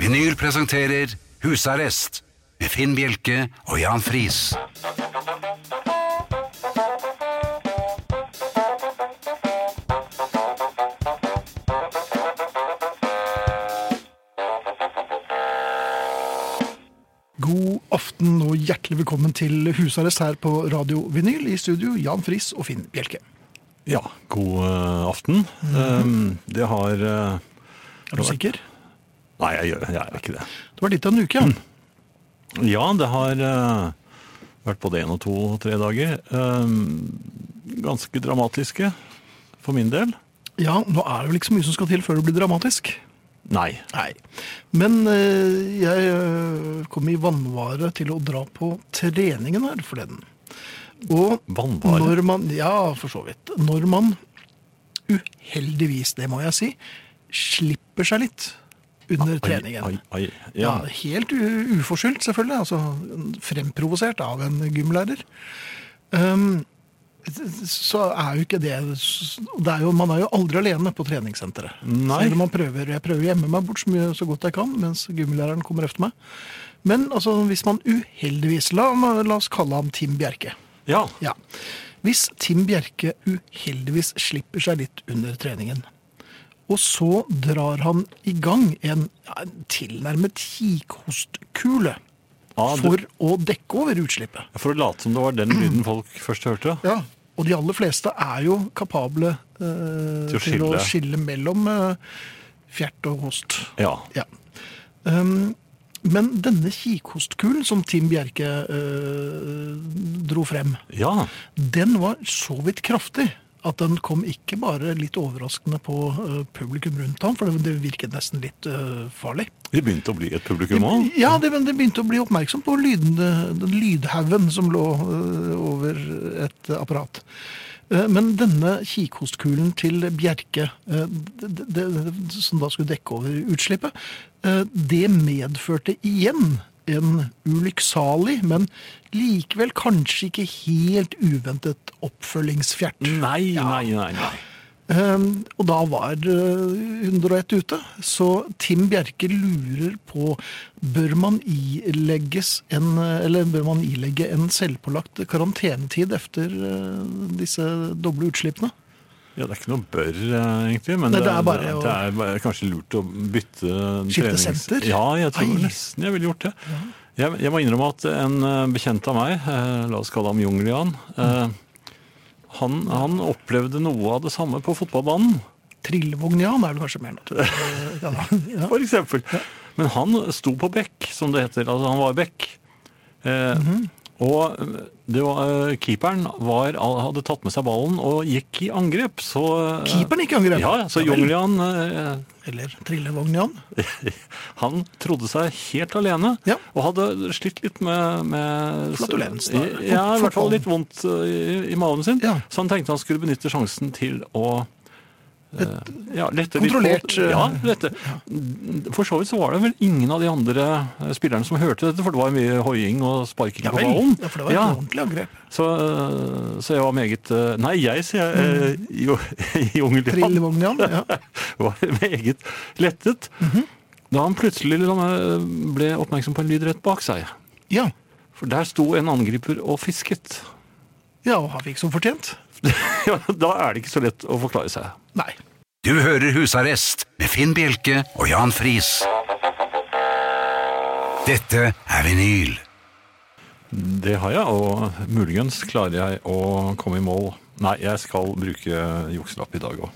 Vinyl presenterer Husarrest med Finn Bjelke og Jan Friis. God aften og hjertelig velkommen til husarrest her på Radio Vinyl. I studio Jan Friis og Finn Bjelke. Ja, god eh, aften. Eh, det har eh, Er du sikker? Nei, jeg, gjør- jeg er ikke det. Det var litt av en uke, ja. Ja, det har eh, vært både én og to og tre dager. eh, ganske dramatiske for min del. Ja, nå er det vel ikke så mye som skal til før det blir dramatisk. Nei. Nei. Men eh, jeg eh, kom i vannvare til å dra på treningen her forleden. Og Vannvare? når man Ja, for så vidt. Når man uheldigvis, det må jeg si, slipper seg litt under treningen. Ai, ai, ai. Ja. Ja, Helt u- uforskyldt, selvfølgelig. altså Fremprovosert av en gymlærer. Ehm, så er jo ikke det, det er jo, Man er jo aldri alene på treningssenteret. Nei. Selv om man prøver, Jeg prøver å gjemme meg bort så mye så godt jeg kan, mens gymlæreren kommer efter meg. Men altså, hvis man uheldigvis La, la oss kalle ham Tim Bjerke. ja. Ja. Hvis Tim Bjerke uheldigvis slipper seg litt under treningen, og så drar han i gang en, ja, en tilnærmet kikhostkule Ah, du- for å dekke over utslippet. For å late som det var den lyden folk først hørte. Ja, og de aller fleste er jo kapable eh, Til å til, å, skille. mellom eh, fjert og host. Ja. Ja. Um, men denne kikhostkulen som Tim Bjerke eh, dro frem, ja. Den var så vidt kraftig at den kom ikke bare litt overraskende på eh, publikum rundt ham, for det, det virket nesten litt eh, farlig. Vi begynte å bli et publikum òg. Ja, det, men det begynte å bli oppmerksom på lyden, eh, den lydhaugen som lå eh, over et apparat. Eh, Men denne kikhostkulen til Bjerke, eh, det, det, det- som da skulle dekke over utslippet, eh, det medførte igjen en ulykksalig, men likevel kanskje ikke helt uventet oppfølgingsfjert. Nei, nei, nei. nei. Um, og da var eh, 101 ute, så Tim Bjerke lurer på bør man ilegges en, eh, eller bør man ilegge en selvpålagt karantenetid etter eh, disse doble utslippene. Ja, Det er ikke noe bør, eh, egentlig, men Nei, det det er er, bare det, å- er bare kanskje lurt å bytte eh, Skifte trenings- senter? Ja, jeg tror Ai. nesten jeg ville gjort det. Jeg, jeg må innrømme at en eh, bekjent av meg, eh, la oss kalle ham Jungelian, eh, han, han opplevde noe av det samme på fotballbanen, Trillevogn, ja, det er det kanskje mer naturlig. Ja, da. for eksempel. Men han sto på bekk, som det heter. Altså, han var bekk. Eh, Mhm. Og det var, eh, keeperen var, hadde tatt med seg ballen og gikk i angrep, så eh, Ja. Keeperen gikk i angrep. Ja, så vel. Jungelian eh, Eller Trillevogn, ja. Han trodde seg helt alene, Ja. og hadde slitt litt med, med Flatulens, da. Ja, i hvert fall Fotballen. litt vondt eh, i, i magen sin. Ja. Så han tenkte han skulle benytte sjansen til å eh, ja, lette kontrollert, litt på, eh, ja, lette. For så vidt så var det vel ingen av de andre eh, spillerne som hørte dette, for det var mye hoiing og sparking Ja på vel. ballen. Ja, for det var et Ja. ordentlig angrep. Så, eh, så jeg var meget eh, Nei, jeg, sier jeg. Mm. eh, Jo, Jungelian Trillevogn, ja. ja. var meget lettet. Da han plutselig liksom, ble oppmerksom på en lyd rett bak seg. Ja. For der sto en angriper og fisket. ja, og han fikk som fortjent. Ja, da er det ikke så lett å forklare seg. Nei. Du hører Husarrest med Finn Bjelke og Jan Friis. Dette er vinyl. Det har jeg, og muligens klarer jeg å komme i mål. Nei, jeg skal bruke jukselapp i dag òg.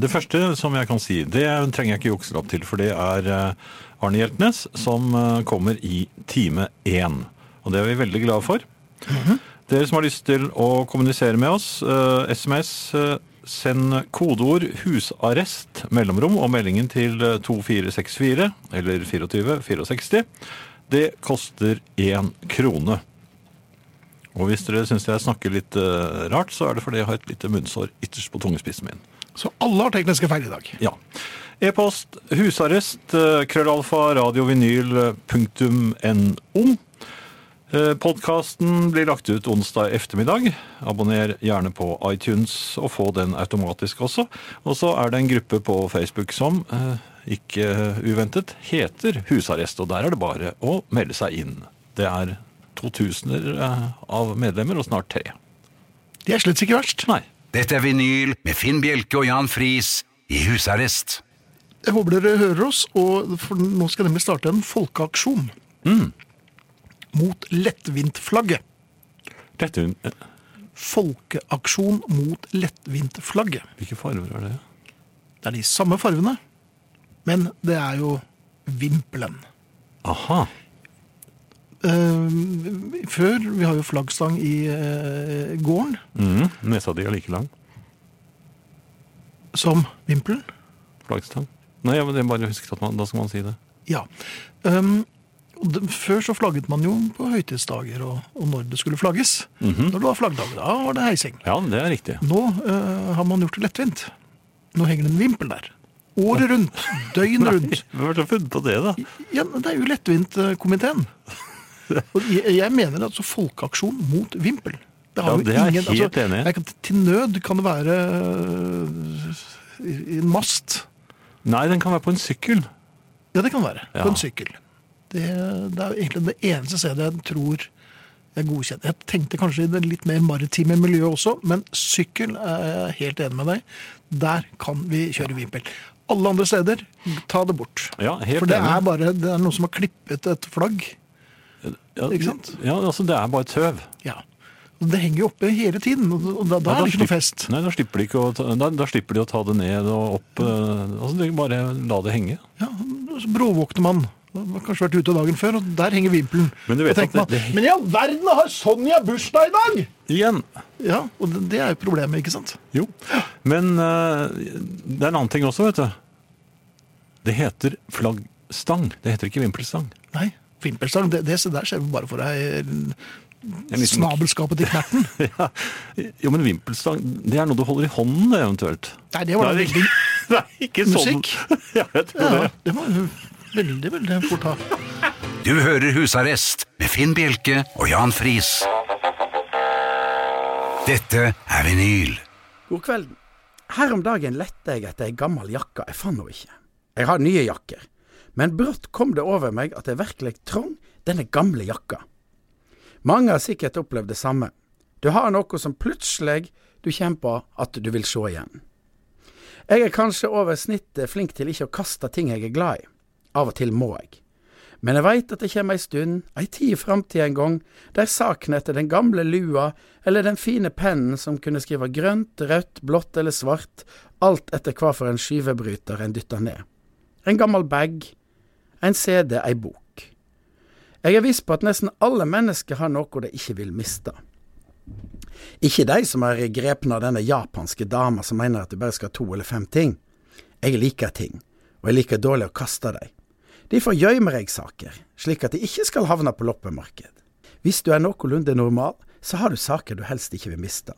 Det første som jeg kan si, det trenger jeg ikke jukselapp til, for det er eh, Arne Hjeltnes som eh, kommer i time én. Og det er vi veldig glade for. Dere som har lyst til å kommunisere med oss, eh, SMS, eh, send kodeord 'husarrest' mellomrom og meldingen til eh, 2464 eller 2464. Det koster én krone. Og hvis dere syns jeg snakker litt eh, rart, så er det fordi jeg har et lite munnsår ytterst på tungespissen min. Så alle har tekniske feil i dag. Ja. E-post husarrest eh, krøllalfa radiovinyl.no. Podkasten blir lagt ut onsdag ettermiddag. Abonner gjerne på iTunes og få den automatisk også. Og så er det en gruppe på Facebook som, eh, ikke eh, uventet, heter Husarrest. Og der er det bare å melde seg inn. Det er 2000 av medlemmer, og snart tre. Det er slett ikke verst. Nei. Dette er vinyl med Finn Bjelke og Jan Friis i husarrest. Jeg håper dere hører oss, og for nå skal jeg nemlig starte en folkeaksjon. Mot lettvintflagget. Dette, eh, Folkeaksjon mot lettvintflagget. hvilke farger er det? Det er de samme fargene, men det er jo vimpelen. Aha. Eh, før, vi har jo flaggstang i eh, gården, Mm, nesa di er like lang. som vimpelen. Flaggstang. Nei, ja, men jeg bare husket at man, da skal man si det. Ja. Ehm, og det- før så flagget man jo på høytidsdager og, og når det skulle flagges. Når det var flaggdag, da var det heising. Ja, det er riktig. Nå eh, har man gjort det lettvint. Nå henger det en vimpel der. Året rundt, døgnet rundt. Hvem har funnet på det, da? Ja, men det er jo lettvintkomiteen. Og jeg, jeg mener altså folkeaksjon mot vimpel. Det Ja, jo altså, det er jeg helt enig i. jeg kan- Til nød kan det være øh, i- i en mast. Nei, den kan være på en sykkel. Ja, det kan være. Ja. På en sykkel. Det, det er jo egentlig det eneste stedet jeg tror jeg godkjenner. Jeg tenkte kanskje i det litt mer maritime miljøet også, men sykkel er jeg helt enig med deg. Der kan vi kjøre vimpel. Alle andre steder, ta det bort. Ja, helt For det enig. er bare det er noen som har klippet et flagg. Ja, Ikke sant? Ja, altså det er bare tøv. Ja. Og det henger jo oppe hele tiden, og da, da er det ikke slipper- noe fest. Nei, da slipper, de ikke å ta, da, da slipper de å ta det ned og opp. eh, Altså, de bare la det henge. Ja, så bråvåkner man. Man har kanskje vært ute dagen før, og der henger vimpelen. Men du vet Da tenker at det- man, det- Men i all verden har Sonja bursdag i dag! Igjen! Ja, og det, det er jo problemet, ikke sant? Jo. Men eh, det er en annen ting også, vet du. Det heter flaggstang. Det heter ikke vimpelstang. Nei, vimpelstang, det, det der ser vi bare for deg En liten- snabelskapet til knerten. Ja. Jo, men vimpelstang, det er noe du holder i hånden, det eventuelt. Nei, det var da Nei, veldig, Nei, ikke sånn. Musikk? Ja, jeg tror ja, det. det var veldig, veldig fort ha. Du hører Husarrest med Finn Bjelke og Jan Friis. Dette er vinyl. God kvelden. Her om dagen lette jeg etter ei gammel jakke jeg fant henne ikke. Jeg har nye jakker, men brått kom det over meg at jeg virkelig trong denne gamle jakka. Mange har sikkert opplevd det samme. Du har noe som plutselig du kommer på at du vil se igjen. Jeg er kanskje over snittet flink til ikke å kaste ting jeg er glad i. Av og til må jeg. Men jeg veit at det kommer ei stund, ei tid i framtida en gang, der saken etter den gamle lua eller den fine pennen som kunne skrive grønt, rødt, blått eller svart, alt etter hva for en skyvebryter en dytta ned. En gammel bag, en CD, ei bok. Jeg er viss på at nesten alle mennesker har noe de ikke vil miste. Ikke de som er grepne av denne japanske dama som mener at du bare skal ha to eller fem ting. Jeg liker ting, og jeg liker dårlig å kaste dem. Derfor gjemmer jeg saker, slik at de ikke skal havne på loppemarked. Hvis du er noenlunde normal, så har du saker du helst ikke vil miste.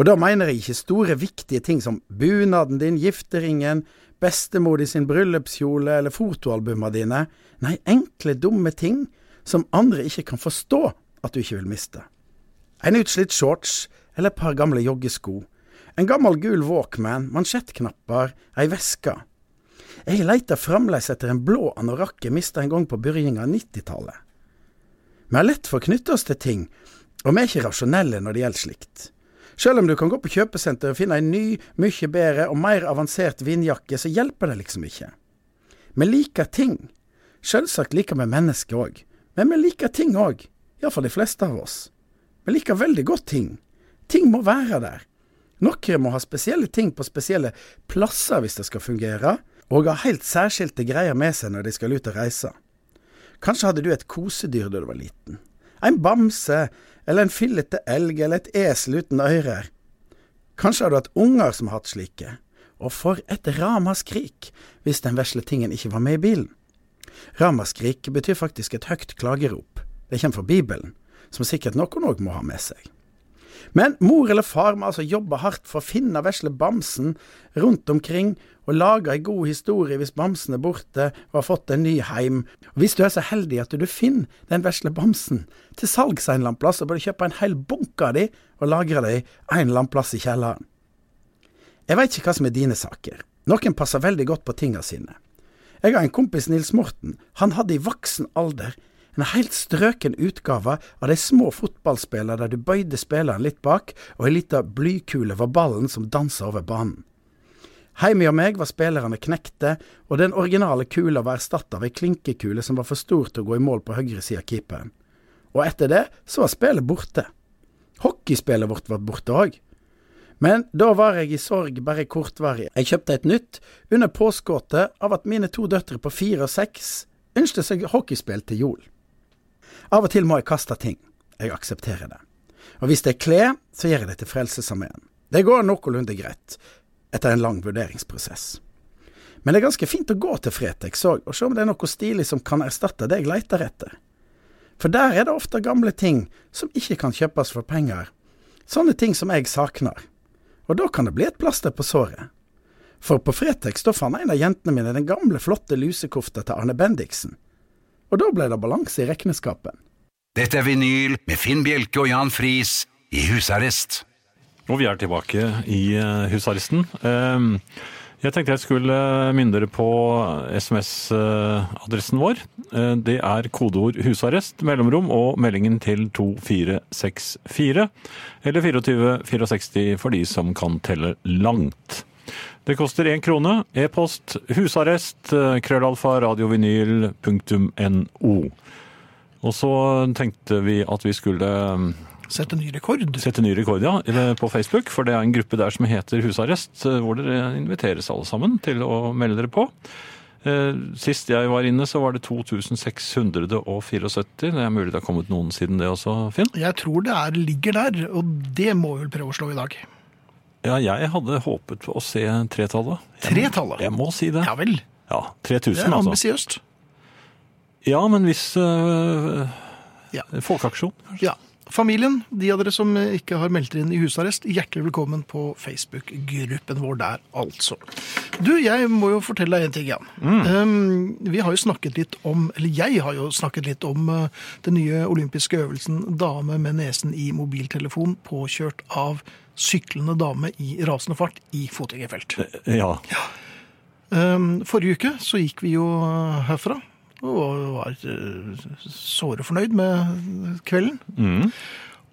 Og da mener jeg ikke store, viktige ting som bunaden din, gifteringen, bestemor di sin bryllupskjole eller fotoalbuma dine. Nei, enkle, dumme ting som andre ikke kan forstå at du ikke vil miste. En utslitt shorts eller et par gamle joggesko. En gammel gul Walkman, mansjettknapper, ei veske. Jeg leiter fremdeles etter en blå anorakk jeg mista en gang på begynnelsen av 90-tallet. Vi har lett for å knytte oss til ting, og vi er ikke rasjonelle når det gjelder slikt. Selv om du kan gå på kjøpesenter og finne en ny, mye bedre og mer avansert vindjakke, så hjelper det liksom ikke. Vi liker ting. Selvsagt liker vi mennesker òg, men vi liker ting òg, iallfall de fleste av oss. Vi liker veldig godt ting. Ting må være der. Noen må ha spesielle ting på spesielle plasser hvis det skal fungere, og ha helt særskilte greier med seg når de skal ut og reise. Kanskje hadde du et kosedyr da du var liten. En bamse, eller en fillete elg, eller et esel uten ører. Kanskje har du hatt unger som har hatt slike. Og for et ramaskrik hvis den vesle tingen ikke var med i bilen. Ramaskrik betyr faktisk et høyt klagerop. Det kommer fra Bibelen, som sikkert noen òg må ha med seg. Men mor eller far må altså jobbe hardt for å finne vesle bamsen rundt omkring, og lage ei god historie hvis bamsen er borte og har fått en ny heim. Hvis du er så heldig at du finner den vesle bamsen til salgs en eller annen plass, så bør du kjøpe en hel bunke av de og lagre de en eller annen plass i kjelleren. Jeg veit ikke hva som er dine saker. Noen passer veldig godt på tinga sine. Jeg har en kompis, Nils Morten. Han hadde i voksen alder en helt strøken utgave av de små fotballspillene der du bøyde spilleren litt bak, og ei lita blykule var ballen som dansa over banen. Heime hos meg var spillerne knekte, og den originale kula var erstatta av ei klinkekule som var for stor til å gå i mål på høyresida av keeperen. Og etter det så var spillet borte. Hockeyspillet vårt var borte òg. Men da var jeg i sorg bare kortvarig. Jeg kjøpte et nytt, under påskuddet av at mine to døtre på fire og seks ønsket seg hockeyspill til jul. Av og til må jeg kaste ting. Jeg aksepterer det. Og hvis det er klær, så gjør jeg det til Frelsesarmeen. Det går noenlunde greit, etter en lang vurderingsprosess. Men det er ganske fint å gå til Fretex òg, og se om det er noe stilig som kan erstatte det jeg leter etter. For der er det ofte gamle ting som ikke kan kjøpes for penger. Sånne ting som jeg savner. Og da kan det bli et plaster på såret. For på Fretex da fant en av jentene mine den gamle, flotte lusekofta til Arne Bendiksen. Og da ble det balanse i regneskapet. Dette er vinyl med Finn Bjelke og Jan Friis i husarrest. Og vi er tilbake i eh, husarresten. Ehm, Jeg tenkte jeg skulle minne dere på SMS-adressen vår. Eh, Det er kodeord 'husarrest', mellomrom og meldingen til 2464. Eller 2464 for de som kan telle langt. Det koster én krone. E-post husarrest eh, krøllalfa radiovinyl.no. Og så tenkte vi at vi skulle eh, Sette ny rekord. sette ny rekord ja, eller på Facebook, for det er en gruppe der som heter Husarrest, eh, hvor dere inviteres alle sammen til å melde dere på. Eh, Sist jeg var inne, så var det 2674. Det er mulig det har kommet noen siden det også, Finn? Jeg tror det er ligger der, og det må vi vel prøve å slå i dag. Ja, jeg hadde håpet på å se tretallet. Jeg- Tretallet? Jeg må si det. Ja vel. Ja, Det 3000, er altså. ambisiøst. Ja, men hvis øh, Ja. Folkeaksjon, kanskje? Ja. Familien, de av dere som ikke har meldt dere inn i husarrest, hjertelig velkommen på Facebook-gruppen vår der, altså. Du, jeg må jo fortelle deg en ting, Jan. Um, vi har jo snakket litt om, eller jeg har jo snakket litt om uh, den nye olympiske øvelsen dame med nesen i mobiltelefon påkjørt av syklende dame i rasende fart i fotgjengerfelt. Ja. Um, forrige uke så gikk vi jo uh, herfra og var uh, såre fornøyd med kvelden. Mm.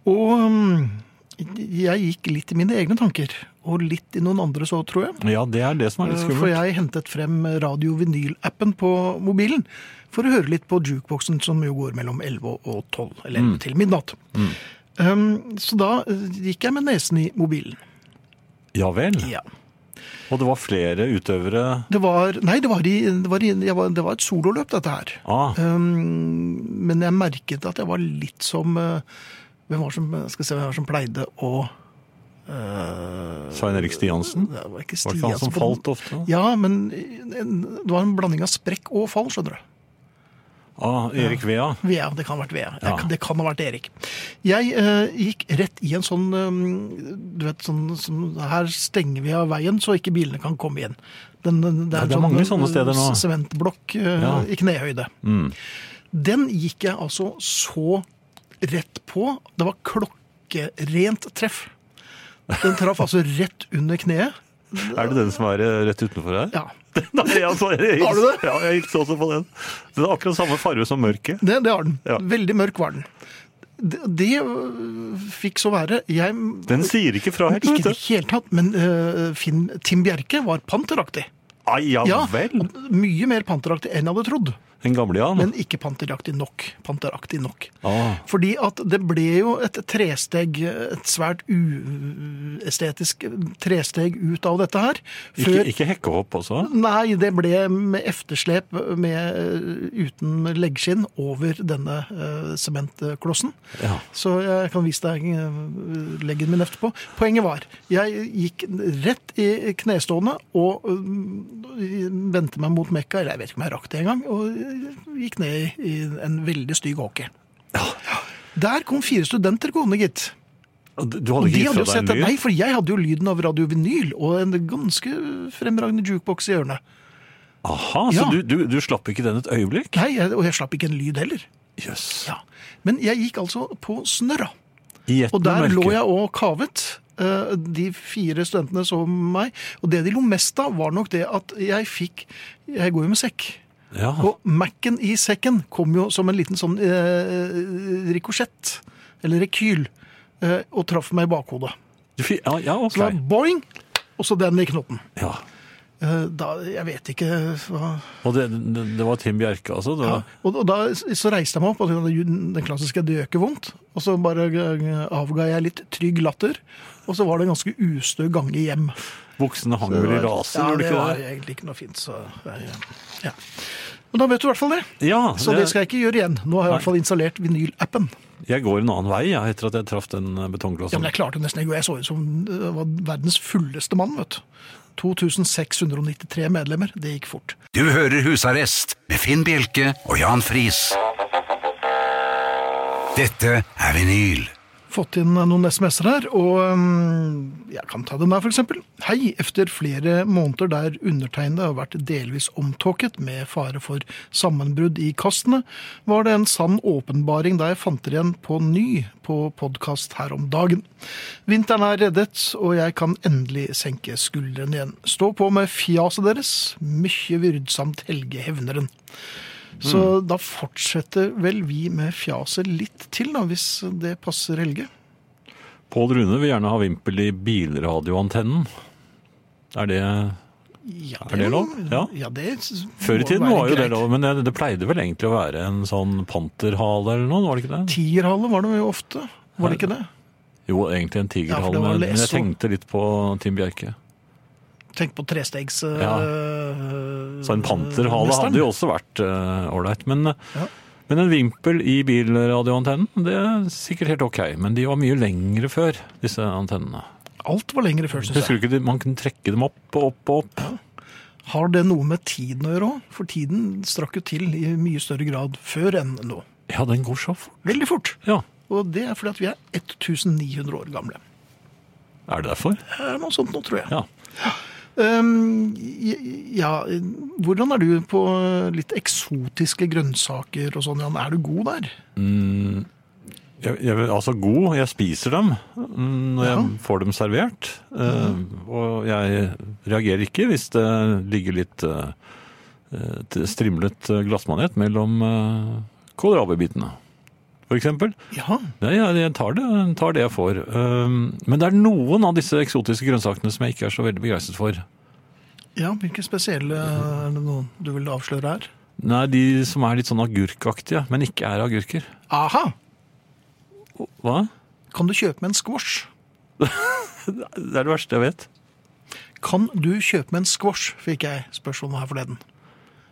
Og um, jeg gikk litt i mine egne tanker, og litt i noen andre så, tror jeg. ja, det er det som er litt For skummelt. Eh, jeg hentet frem radio-vinyl-appen på mobilen for å høre litt på jukeboksen, som jo går mellom 11 og 12, eller Mm. 11 til midnatt. Um, så da uh, gikk jeg med nesen i mobilen. Ja vel. Ja. Og det var flere utøvere Det var Nei, det var, i, det var, i, jeg var, det var et sololøp, dette her. ah, Um, men jeg merket at jeg var litt som eh, Hvem var som, skal vi se, hvem var som pleide å eh, Svein Erik Stiansen. Det var ikke Var det ikke han som Stian falt ofte? Ja, men en- det var en blanding av sprekk og fall, skjønner du. Ah, Erik Vea. Vea, det kan ha vært Vea. Ja. Jeg- Det kan ha vært Erik. Jeg eh, gikk rett i en sånn eh, Du vet, sånn, sånn Her stenger vi av veien så ikke bilene kan komme inn. Den, den, Ja, en det er mange sånne steder nå. s- Sementblokk eh, Ja. Mm. i knehøyde. Den gikk jeg altså så rett på. Det var klokkerent treff. Den traff altså rett under kneet. Er det den som er eh, rett utenfor her? Ja, Nei, altså, jeg, Har du det? Ja, jeg hilste også på den. Den er akkurat samme farge som mørket. det, det har den. Ja. Veldig mørk var den. Det, det øh, fikk så være. Jeg Den sier ikke fra helt, Ikke i vet det du. hele tatt, men øh, Finn, Tim Bjerke var panteraktig. Ai, ja, Ja, vel. og mye mer panteraktig enn jeg hadde trodd, Den gamle, ja. nå. men ikke panteraktig nok. Panteraktig nok. Ah. Fordi at det ble jo et tresteg, et svært uestetisk tresteg ut av dette her. Ikke, ikke hekkehopp også? Nei, det ble med efterslep med, øh, uten leggskinn over denne øh, sementklossen. Ja. Så jeg kan vise deg øh, leggen min etterpå. Poenget var, jeg gikk rett i knestående og øh, vendte meg mot Mekka, eller jeg vet ikke om jeg rakk det engang, og øh, gikk ned i, i en veldig stygg åker. Der kom fire studenter gående, gitt. Ah, Du Og hadde de hadde ikke gitt jo fra sett det. deg en Nei, lyd? for jeg hadde jo lyden av radiovinyl og en ganske fremragende jukebox i hjørnet. Aha, så Ja. du, du, du slapp ikke den et øyeblikk? Nei, jeg, og jeg slapp ikke en lyd heller. Jøss. Ja. Men jeg gikk altså på snørra. I ett Og der mørke. lå jeg og kavet. Eh, De fire studentene så meg. Og det de lo mest av, var nok det at jeg fikk Jeg går jo med sekk. Ja. Og Mac-en i sekken kom jo som en liten sånn eh, rikosjett. Eller rekyl. Eh, og traff meg i bakhodet. Du fi- ja, ja, ok. Så det var boing, og så den i knotten. Ja. Eh, da, jeg vet ikke hva Og det, det, det var Tim Bjerke, altså? Det ja. var, Og, og da så reiste jeg meg opp, og tenkte, "Jo, den klassiske 'det gjør ikke vondt'. Og så bare eh, avga jeg litt trygg latter, og så var det en ganske ustø gange hjem. Buksene hang vel i Det var- raser, ja, gjorde det ikke var det? egentlig ikke noe fint, så jeg, ja. Men da vet du i hvert fall det. Ja, Så det skal jeg ikke gjøre igjen. Nå har jeg i Nei. hvert fall installert vinylappen. jeg går en annen vei ja, etter at jeg traff den eh, Ja, betongklossen. men jeg klarte nesten ikke, og jeg så ut som eh, var verdens fulleste mann, vet du. 2693 medlemmer, det gikk fort. Du hører Husarrest med Finn Bjelke og Jan Friis. Dette er vinyl. fått inn noen SMS-er her, og øhm, jeg kan ta den der, for eksempel. Hei, efter flere måneder der undertegnede har vært delvis omtåket med fare for sammenbrudd i kastene, var det en sann åpenbaring da jeg fant dere igjen på ny på podkast her om dagen. Vinteren er reddet, og jeg kan endelig senke skuldrene igjen. Stå på med fjaset deres, mykje vyrdsamt Helge Hevneren. Så da fortsetter vel vi med fjaset litt til, da, hvis det passer Helge. Pål Rune vil gjerne ha vimpel i bilradioantennen. Er det Ja, Er det lov? Ja. det Før i må tiden være var jo det greit. lov, men det, det pleide vel egentlig å være en sånn panterhale eller noe, var det ikke det? Tierhale var det jo ofte, var det ikke det? Jo, egentlig Ja, en for tigerhale, det var men- vel men jeg SO. tenkte litt på Tim Bjerke. Tenk på trestegs... Ja. øh, Så en panterhale mesteren. hadde jo også vært eh, ålreit. men, Ja. men en vimpel i bilradioantennen, det er sikkert helt ok. Men de var mye lengre før, disse antennene. Alt var lengre før, syns Husker jeg. du ikke, de- man kunne trekke dem opp og opp og opp? Har det noe med tiden å gjøre òg? For tiden strakk jo til i mye større grad før enn nå. Ja, den går så fort. Veldig fort. Ja, Og det er fordi at vi er 1900 år gamle. er det derfor? Det er noe sånt nå, tror jeg. Ja. Ehm, j- ja, eh, hvordan er du på eh, litt eksotiske grønnsaker og sånn, Jan? Er du god der? Jeg, jeg, altså god, jeg spiser dem mm, når jeg får dem servert. Eh, og jeg reagerer ikke hvis det ligger litt eh, et strimlet eh, glassmanet mellom uh, kålrabibitene, for eksempel. Ja. Nei, jeg, jeg tar, det, tar det jeg får. Eh, men det er noen av disse eksotiske grønnsakene som jeg ikke er så veldig begeistret for. ja hvilke spesielle er det noen du vil avsløre her? Nei, de som er litt sånn agurkaktige, men ikke er agurker. Aha! Hva? Kan du kjøpe med en squash? Det er det verste jeg vet. Kan du kjøpe med en squash, fikk jeg spørsmål om her forleden.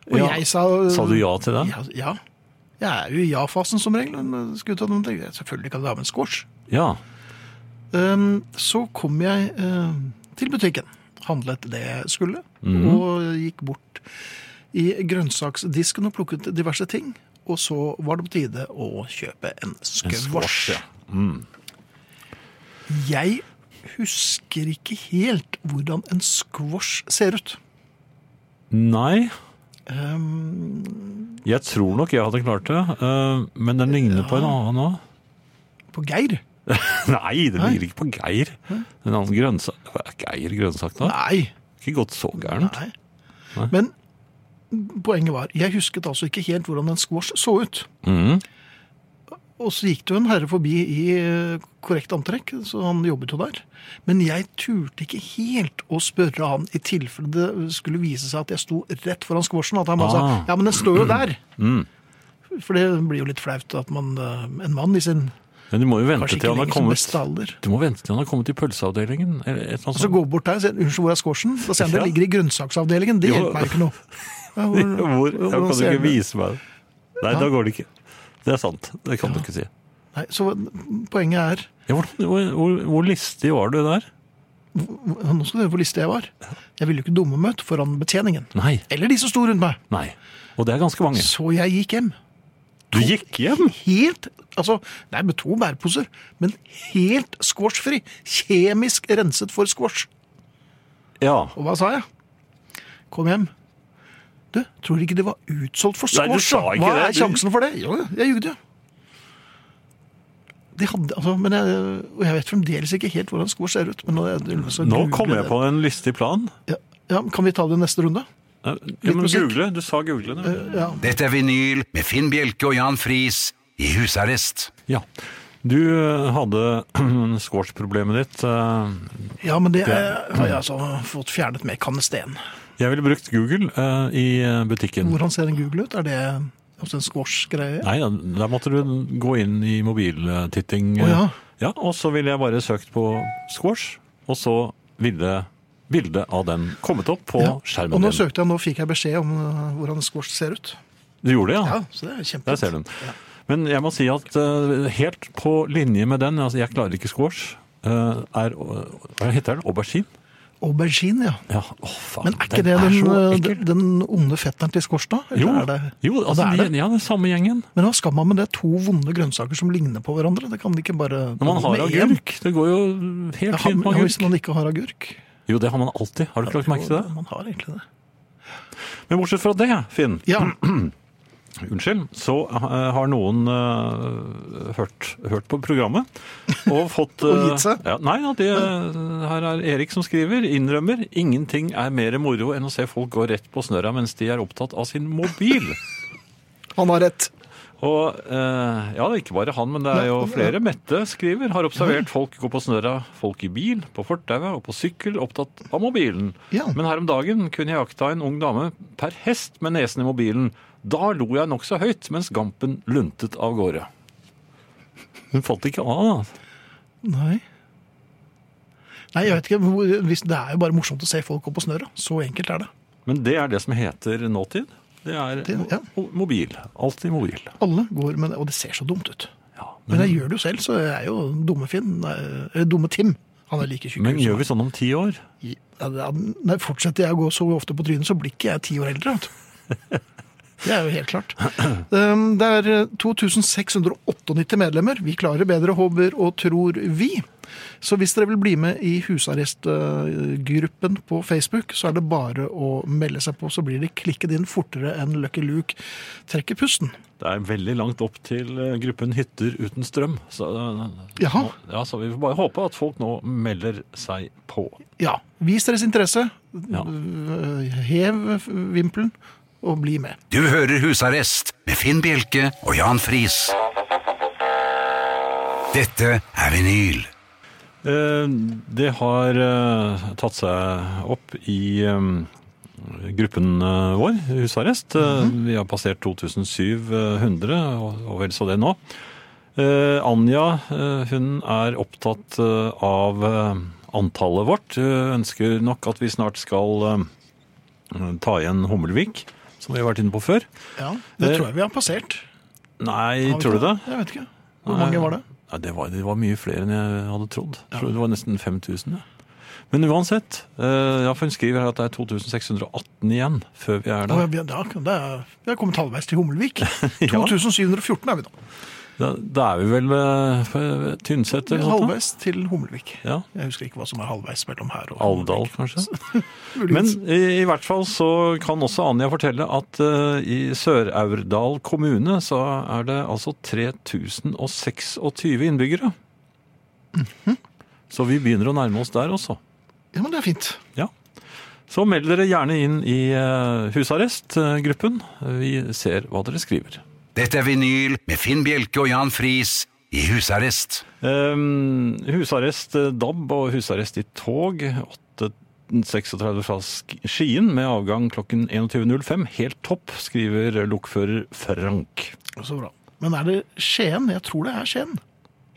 Og Ja. jeg sa Sa du ja til den? Ja. ja. Jeg er jo i ja-fasen som regel. men eh, skulle ta den, tenkte jeg, Selvfølgelig kan du ha med en squash. Ja. Ehm, så kom jeg ehm, til butikken, handlet det jeg skulle, og gikk bort i grønnsaksdisken og plukket diverse ting. Og så var det på tide å kjøpe en En squash. Mm. ja. Jeg husker ikke helt hvordan en squash ser ut. Nei. Ehm, Jeg tror nok jeg hadde klart det, øh, men den ligner på en annen òg. på Geir? Nei, den Nei. ligner ikke på Geir. En annen grønnsak Er Geir grønnsak, da? Nei. Ikke gått så gærent. Nei. Men poenget var, jeg husket altså ikke helt hvordan en squash så ut. Mhm. Og så gikk det jo en herre forbi i eh, korrekt antrekk, så han jobbet jo der. Men jeg turte ikke helt å spørre han i tilfelle det skulle vise seg at jeg sto rett foran squashen. At han bare Ah. sa Mm. 'ja, men den står jo der'. For det blir jo litt flaut at man, eh, en mann i sin Men du må jo vente kanskje til ikke han har lenger som kommet beste alder Du må vente til han har kommet i pølseavdelingen. Eller et eller annet Så sånt. går bort der og sier 'unnskyld, hvor er squashen?' Da sier han det Ja. ligger i grønnsaksavdelingen. Det Jo. hjelper meg ikke noe. Ja, hvor- Hvor? Ja, hvordan kan du ser ikke det? vise meg det? Nei, da går det ikke. Det er sant. Det kan du ikke si. Nei, så poenget er Ja, hvor, hvor, hvor, hvor listig var du der? Nå skal du høre hvor listig jeg var. Jeg ville jo ikke dumme møte foran betjeningen. Nei. Eller de som sto rundt meg. Nei. Og det er ganske mange. Så jeg gikk hjem. Du gikk hjem? Helt, altså, nei, med to bærposer, men helt squashfri. Kjemisk renset for squash. Ja. Og hva sa jeg? Kom hjem. Du, tror du ikke det var utsolgt for Nei, squash? du sa da? ikke hva det, er du- sjansen for det? Jo, jeg jugde. De hadde, altså, men jeg, og jeg vet fremdeles ikke helt hvordan squash ser ut. Men nå, jeg, så Nå googler kom jeg på en lystig plan. Ja, ja, men kan vi ta det i neste runde? Ja, men musikk. google. Du sa google. nå. Ja. Dette er vinyl med Finn Bjelke og Jan Friis i husarrest. Ja. Du eh, hadde squash-problemet ditt. eh, Ja, men det eh, har jeg altså fått fjernet med kannesten. Jeg ville brukt Google eh, i eh, butikken. Hvordan ser en Google ut? Er det altså en squash-greie? Nei, da- der måtte du gå inn i mobiltitting. eh, Å, ja. ja, og så ville jeg bare søkt på squash, og så ville bildet av den kommet opp på Ja. Og skjermen nå din. søkte jeg, nå fikk jeg beskjed om eh, hvordan squash ser ut. Du gjorde det, ja? Ja, så det er kjempefint. Der ser du den. Men jeg må si at eh, helt på linje med den, altså jeg klarer ikke squash, eh, er, hva heter den, aubergine? Aubergine, ja. Ja, å faen, Men er ikke det den, så eh, ekkel. den, den onde fetteren til squash, da? Eller Jo, er det, jo Ja, det altså, er de, det. ja, den samme gjengen. Men hva skal man med det? To vonde grønnsaker som ligner på hverandre? Det kan de ikke bare Når man har med én. agurk, det går jo helt Ja, fint med ja, hvis agurk. man ikke har agurk. Jo, det har man alltid. Har du ikke lagt merke til det? Man har egentlig det. Men bortsett fra det, Finn, Ja, unnskyld, så eh, har noen eh, hørt, hørt på programmet og fått Og eh, gitt seg? Ja, nei, ja, det, eh, her er Erik som skriver. Innrømmer ingenting er mer moro enn å se folk gå rett på snørra mens de er opptatt av sin mobil. han har rett. Og eh, ja, det er ikke bare han, men det er jo flere. Mette skriver har observert folk gå på snørra, folk i bil, på fortauet og på sykkel, opptatt av mobilen. Ja. Men her om dagen kunne jeg jakta en ung dame per hest med nesen i mobilen. Da lo jeg nokså høyt, mens gampen luntet av gårde. Hun falt ikke av. altså. Nei. Nei, jeg vet ikke. hvor- Hvis det er jo bare morsomt å se folk gå på snørra. Så enkelt er det. Men det er det som heter nåtid. Det er Det- ja. mo- mobil. Alltid mobil. Alle går med det, og det ser så dumt ut. Ja. Men Men, jeg gjør det jo selv, så jeg er jo dumme Finn. Nei, eh, dumme Tim. Han er like tjukk. men gjør vi sånn om ti år? Nei, fortsetter jeg å gå så ofte på trynet, så blir ikke jeg ti år eldre. Vet du. Det er jo helt klart. Um, Det er 2698 medlemmer. Vi klarer bedre, håper og tror vi. Så hvis dere vil bli med i husarrestgruppen på Facebook, så er det bare å melde seg på, så blir det klikket inn fortere enn Lucky Luke trekker pusten. Det er veldig langt opp til eh, gruppen hytter uten strøm. Så, eh, Jaha. nå- Ja, så vi får bare håpe at folk nå melder seg på. Ja, vis deres interesse, Ja. øh, hev vimpelen og bli med. Du hører Husarrest med Finn Bjelke og Jan Friis. Dette er vinyl. Eh, Det har eh, tatt seg opp i eh, gruppen eh, vår, husarrest. Eh, Mhm. Vi har passert 2700, og og vel så det nå. Eh, Anja eh, hun er opptatt eh, av eh, antallet vårt. Hun ønsker nok at vi snart skal eh, ta igjen Hummelvik, som vi har vært inne på før. Ja, det Eh, tror jeg vi har passert. Nei, Har vi tror du ikke det? Jeg vet ikke. Hvor mange var det? Ja, det, var, det var mye flere enn jeg hadde trodd. Jeg tror det var nesten 5000. Ja. Men uansett, eh, ja, for hun skriver her at det er 2618 igjen før vi er Å, der. ja, vi- ja, det er, vi har kommet halvveis til Hummelvik. 2714 er vi nå. Da, da er vi vel eh, på Tynset Vi er eller noe sånt? halvveis til Hummelvik. Ja. Jeg husker ikke hva som er halvveis mellom her og Alvdal, kanskje? Hummelvik. Men i, i hvert fall så kan også Anja fortelle at eh, i Sør-Aurdal kommune så er det altså 3026 innbyggere. Så vi begynner å nærme oss der også. Ja, men det er fint. Ja. Så meld dere gjerne inn i eh, husarrestgruppen. Vi ser hva dere skriver. Dette er vinyl med Finn Bjelke og Jan Friis i husarrest. Ehm, husarrest eh, DAB og husarrest i tog. 8.36 fra Sk- Skien med avgang klokken 21.05. Helt topp, skriver lokfører Frank. Så bra. Men er det Skien? Jeg tror det er Skien.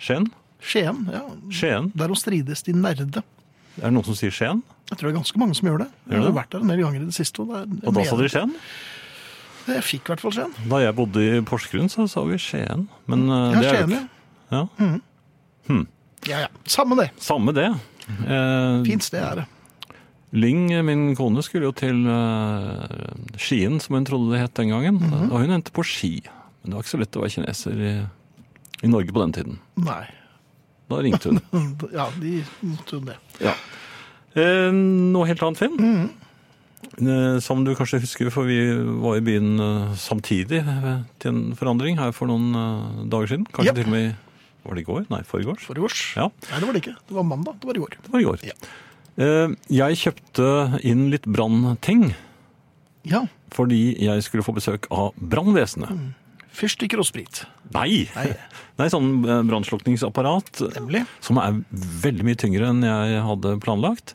Skien? Skien, ja. Skien? Der å strides de nerde. Er det noen som sier Skien? Jeg tror det er ganske mange som gjør det. Jeg har Gjør det? vært der en del ganger i det siste. Og, det er- Og da sa dere jeg Skien? mener- Jeg fikk i hvert fall Skien. Da jeg bodde i Porsgrunn, så sa vi Skien. Men eh, Ja, det er jo Skien, ja. Mm. ikke ja. Hm. Ja, ja. Samme det. Samme det. Eh, Fint sted er det. Ling, min kone, skulle jo til eh, Skien, som hun trodde det het den gangen. Og hun endte på Ski. Men det var ikke så lett å være kineser i, i Norge på den tiden. Nei. Mm, Da ringte hun. Ja, de måtte jo det. Ja. Eh, noe helt annet, Finn. Eh, som du kanskje husker, for vi var i byen eh, samtidig eh, til en forandring her for noen eh, dager siden. Kanskje Japp. til og med i- Var det i går? Nei, foregårs. Forgårs? Ja. Nei, det var det ikke. Det var mandag. Det var i går. Det var i går. Eh, jeg kjøpte inn litt brannting Ja. fordi jeg skulle få besøk av brannvesenet. Fyrstikker og sprit. Nei! Nei. Nei, sånn eh, brannslukningsapparat eh, Nemlig. som er veldig mye tyngre enn jeg hadde planlagt.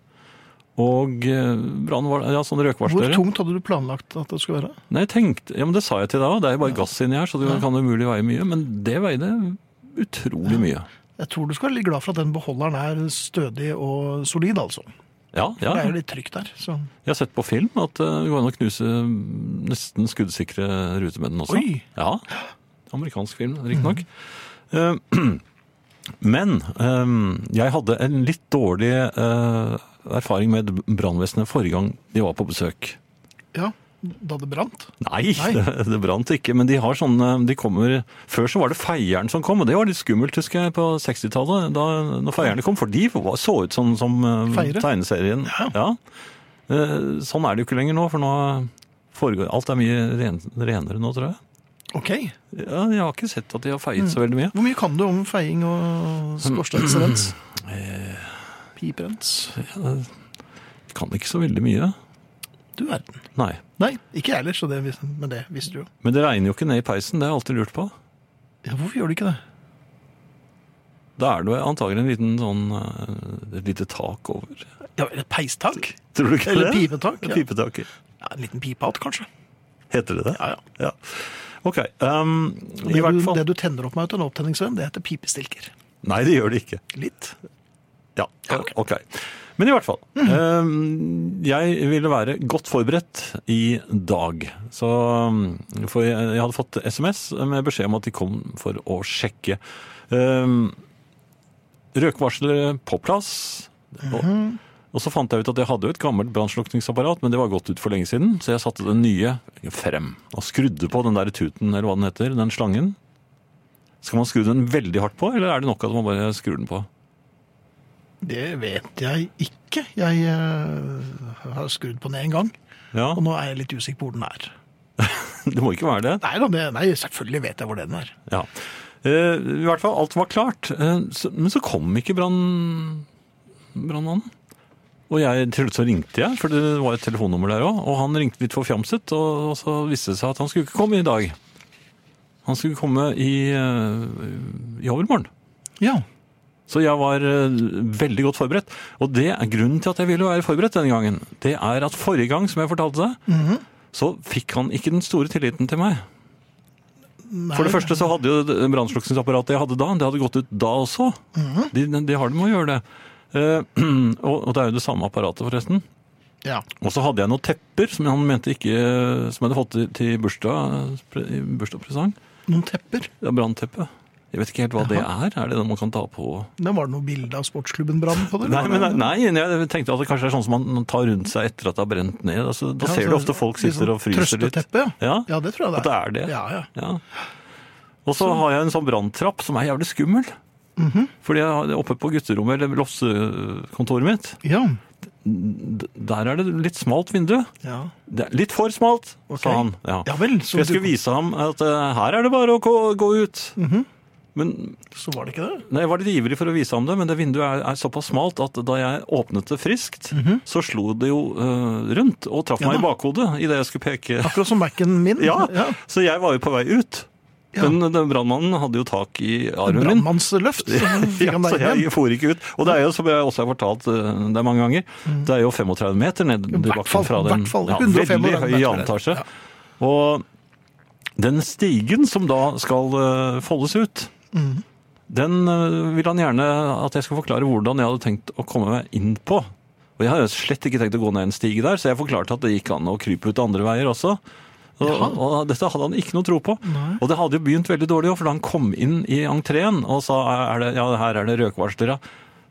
Og eh, brann var Ja, sånn Hvor røkvarslere. tungt hadde du planlagt at det skulle være? Nei, jeg tenkte, ja, men det sa jeg til deg òg. Det er jo bare gass inni her, så det kan umulig veie mye. Men det veide utrolig mye. Jeg tror du skal være litt glad for at den beholderen er stødig og solid, altså. Ja, ja. Det er jo litt trygt der. Så. Jeg har sett på film at eh, det går an å knuse nesten skuddsikre ruter med den også. Oi! Ja. Amerikansk film, riktignok. Mm. Men eh, jeg hadde en litt dårlig eh, erfaring med brannvesenet forrige gang de var på besøk. Ja, da det brant. Nei, Nei. Det, det brant ikke, men de har sånne de kommer, Før så var det feieren som kom, og det var litt skummelt, husker jeg, på 60-tallet. da- Når feierne kom, for de var, så ut sånn som eh, Feiere? tegneserien. Ja. Eh, Sånn er det jo ikke lenger nå, for nå foregår Alt er mye ren, renere nå, tror jeg. Ok. Ja, jeg har ikke sett at de har Mm. feiet så veldig mye. Hvor mye kan du om feiing og skorsteinsrens? Eh. Piprens? Jeg kan ikke så veldig mye. Du verden. Nei. Nei, ikke jeg heller, så det, vis- men det visste du jo. Men det regner jo ikke ned i peisen, det har jeg alltid lurt på. Ja, hvorfor gjør du ikke det? Da er det jo antagelig en liten sånn eh, Et lite tak over. Ja, eller peistak? Tror du ikke Eller det? pipetak, ja. Pipetak, ja. Ja, en liten pipehatt, kanskje. Heter det det? Ja, ja. Ja. Ok. ehm, I Det hvert du, fall det du tenner opp meg ut av en opptenningsvenn, det heter pipestilker. Nei, det gjør det ikke. Litt. Ja, ok. Mhm. Men i hvert fall. ehm, jeg ville være godt forberedt i dag. Så, ehm, for jeg, jeg hadde fått SMS med beskjed om at de kom for å sjekke. Um, Røkvarslere på plass. Og, og så fant jeg ut at jeg hadde jo et gammelt brannslukningsapparat, men det var gått ut for lenge siden, så jeg satte det nye frem. Og skrudde på den der tuten, eller hva den heter, den slangen. Skal man skru den veldig hardt på, eller er det nok at man bare skrur den på? Det vet jeg ikke. Jeg eh, har skrudd på den én gang, Ja. og nå er jeg litt usikker på hvor den er. Det må ikke være det. Nei da, det- nei, selvfølgelig vet jeg hvor den er. Ja. Eh, I hvert fall, alt var klart. Eh, så, men så kom ikke brann... brannmannen. Og jeg, til slutt så ringte jeg, for det var et telefonnummer der òg. Og han ringte litt forfjamset, og, og så viste det seg at han skulle ikke komme i dag. Han skulle komme i, eh, i overmorgen. Ja. Så jeg var eh, veldig godt forberedt. Og det er grunnen til at jeg ville være forberedt denne gangen. Det er at forrige gang, som jeg fortalte deg, så fikk han ikke den store tilliten til meg. For det første så hadde jo det brannslukningsapparatet jeg hadde da, det hadde gått ut da også. de, de har det med å gjøre det. Eh, og, og det er jo det samme apparatet, forresten. Ja. Og så hadde jeg noen tepper som han mente ikke Som jeg hadde fått til, til bursdag, i bursdagspresang. Noen tepper. Ja, Brannteppe. Jeg vet ikke helt hva det er. Er det det man kan ta på Men var det noe bilde av sportsklubben Brann på det? Nei, eller var det- men, nei, jeg tenkte at det kanskje er sånn som man tar rundt seg etter at det har brent ned. Altså, da Ja, ser du så- ofte folk litt sitter sånn og fryser litt. Trøsteteppe, ja. Ja. Ja, det tror jeg det er. At det er det. Ja, ja. Ja. Og så har jeg en sånn branntrapp som er jævlig skummel. Fordi jeg har- oppe på gutterommet, eller lossekontoret mitt, Ja. d- der er det litt smalt vindu. ja. Det er litt for smalt, Ok. sa han. Ja. Ja vel, så For jeg du- skulle vise ham at eh, her er det bare å gå, gå ut. Men Så var det ikke det? Nei, Jeg var litt ivrig for å vise ham det, men det vinduet er, er såpass smalt at da jeg åpnet det friskt, Mhm. så slo det jo eh, rundt og traff meg i bakhodet idet jeg skulle peke. Akkurat som Mac-en min. Ja, ja. Så jeg var jo på vei ut. Ja. Men den brannmannen hadde jo tak i armen min. Brannmannsløft. Så fikk Ja, han så deg igjen. jeg for ikke ut. Og det er jo, som jeg også har fortalt eh, deg mange ganger, Mm. det er jo 35 meter ned i hvert fall, bakken fra den hvert fall, ja, 135 veldig høy meter. janetasje. Og den stigen som da skal eh, foldes ut, Mhm. den eh, vil han gjerne at jeg skal forklare hvordan jeg hadde tenkt å komme meg inn på. Og jeg har jo slett ikke tenkt å gå ned en stige der, så jeg forklarte at det gikk an å krype ut andre veier også. Og, og dette hadde han ikke noe tro på. Og det hadde jo begynt veldig dårlig òg, for da han kom inn i entreen og sa er det, ja, her er det røkvarslere.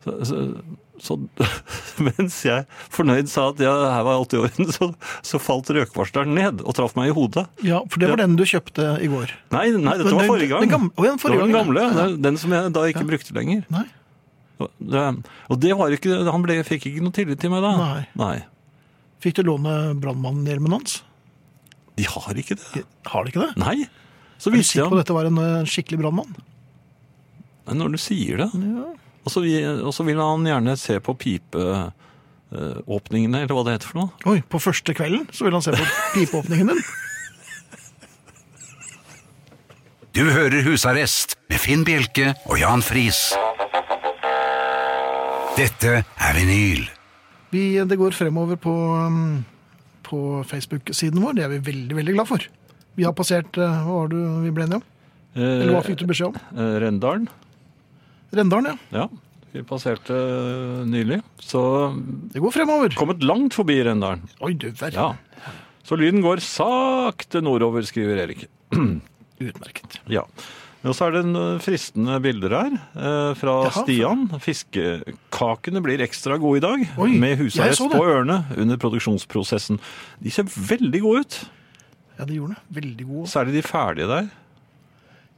Så, så, Så mens jeg fornøyd sa at jeg, her var alt i orden, så, så falt røkvarsleren ned og traff meg i hodet. Ja, for det var den du kjøpte i går. Nei, nei dette Men var den- forrige gang. den gamle- å, ja, den forrige det var den gangen, gamle. ja. Den- Den som jeg da ikke brukte lenger. Nei. Det, og det var ikke, han ble, fikk ikke noe tillit til meg da. Nei. Fikk du låne brannmannhjelmen hans? De har ikke det. Har de ikke det? Nei. Så Er du visste sikker på jeg at dette var en eh, skikkelig brannmann? Nei, når du sier det. Og så vi- og så vil han gjerne se på pipeåpningene, eller hva det heter for noe. Oi, på første kvelden så vil han se på pipeåpningen din. Du hører Husarrest med Finn Bjelke og Jan Friis. Dette er vinyl. Vi, eh, det går fremover på, um, på Facebook-siden vår. Det er vi veldig, veldig glad for. Vi har passert eh, Hva var det vi ble enige om? Eller hva fikk du beskjed om? Eh, Rendalen, Rendalen, ja. ja. Vi passerte eh, nylig. Så Det går fremover. kommet langt forbi Rendalen. Oi, du verden. Ja. Så lyden går sakte nordover, skriver Erik. Utmerket. Ja. Og så er det en eh, fristende bilder her eh, fra Jaha. Stian. Fiskekakene blir ekstra gode i dag, Oi, med jeg husarrest så det. på ørene under produksjonsprosessen. De ser veldig gode ut, Ja, det gjorde det. Veldig god. særlig de ferdige der.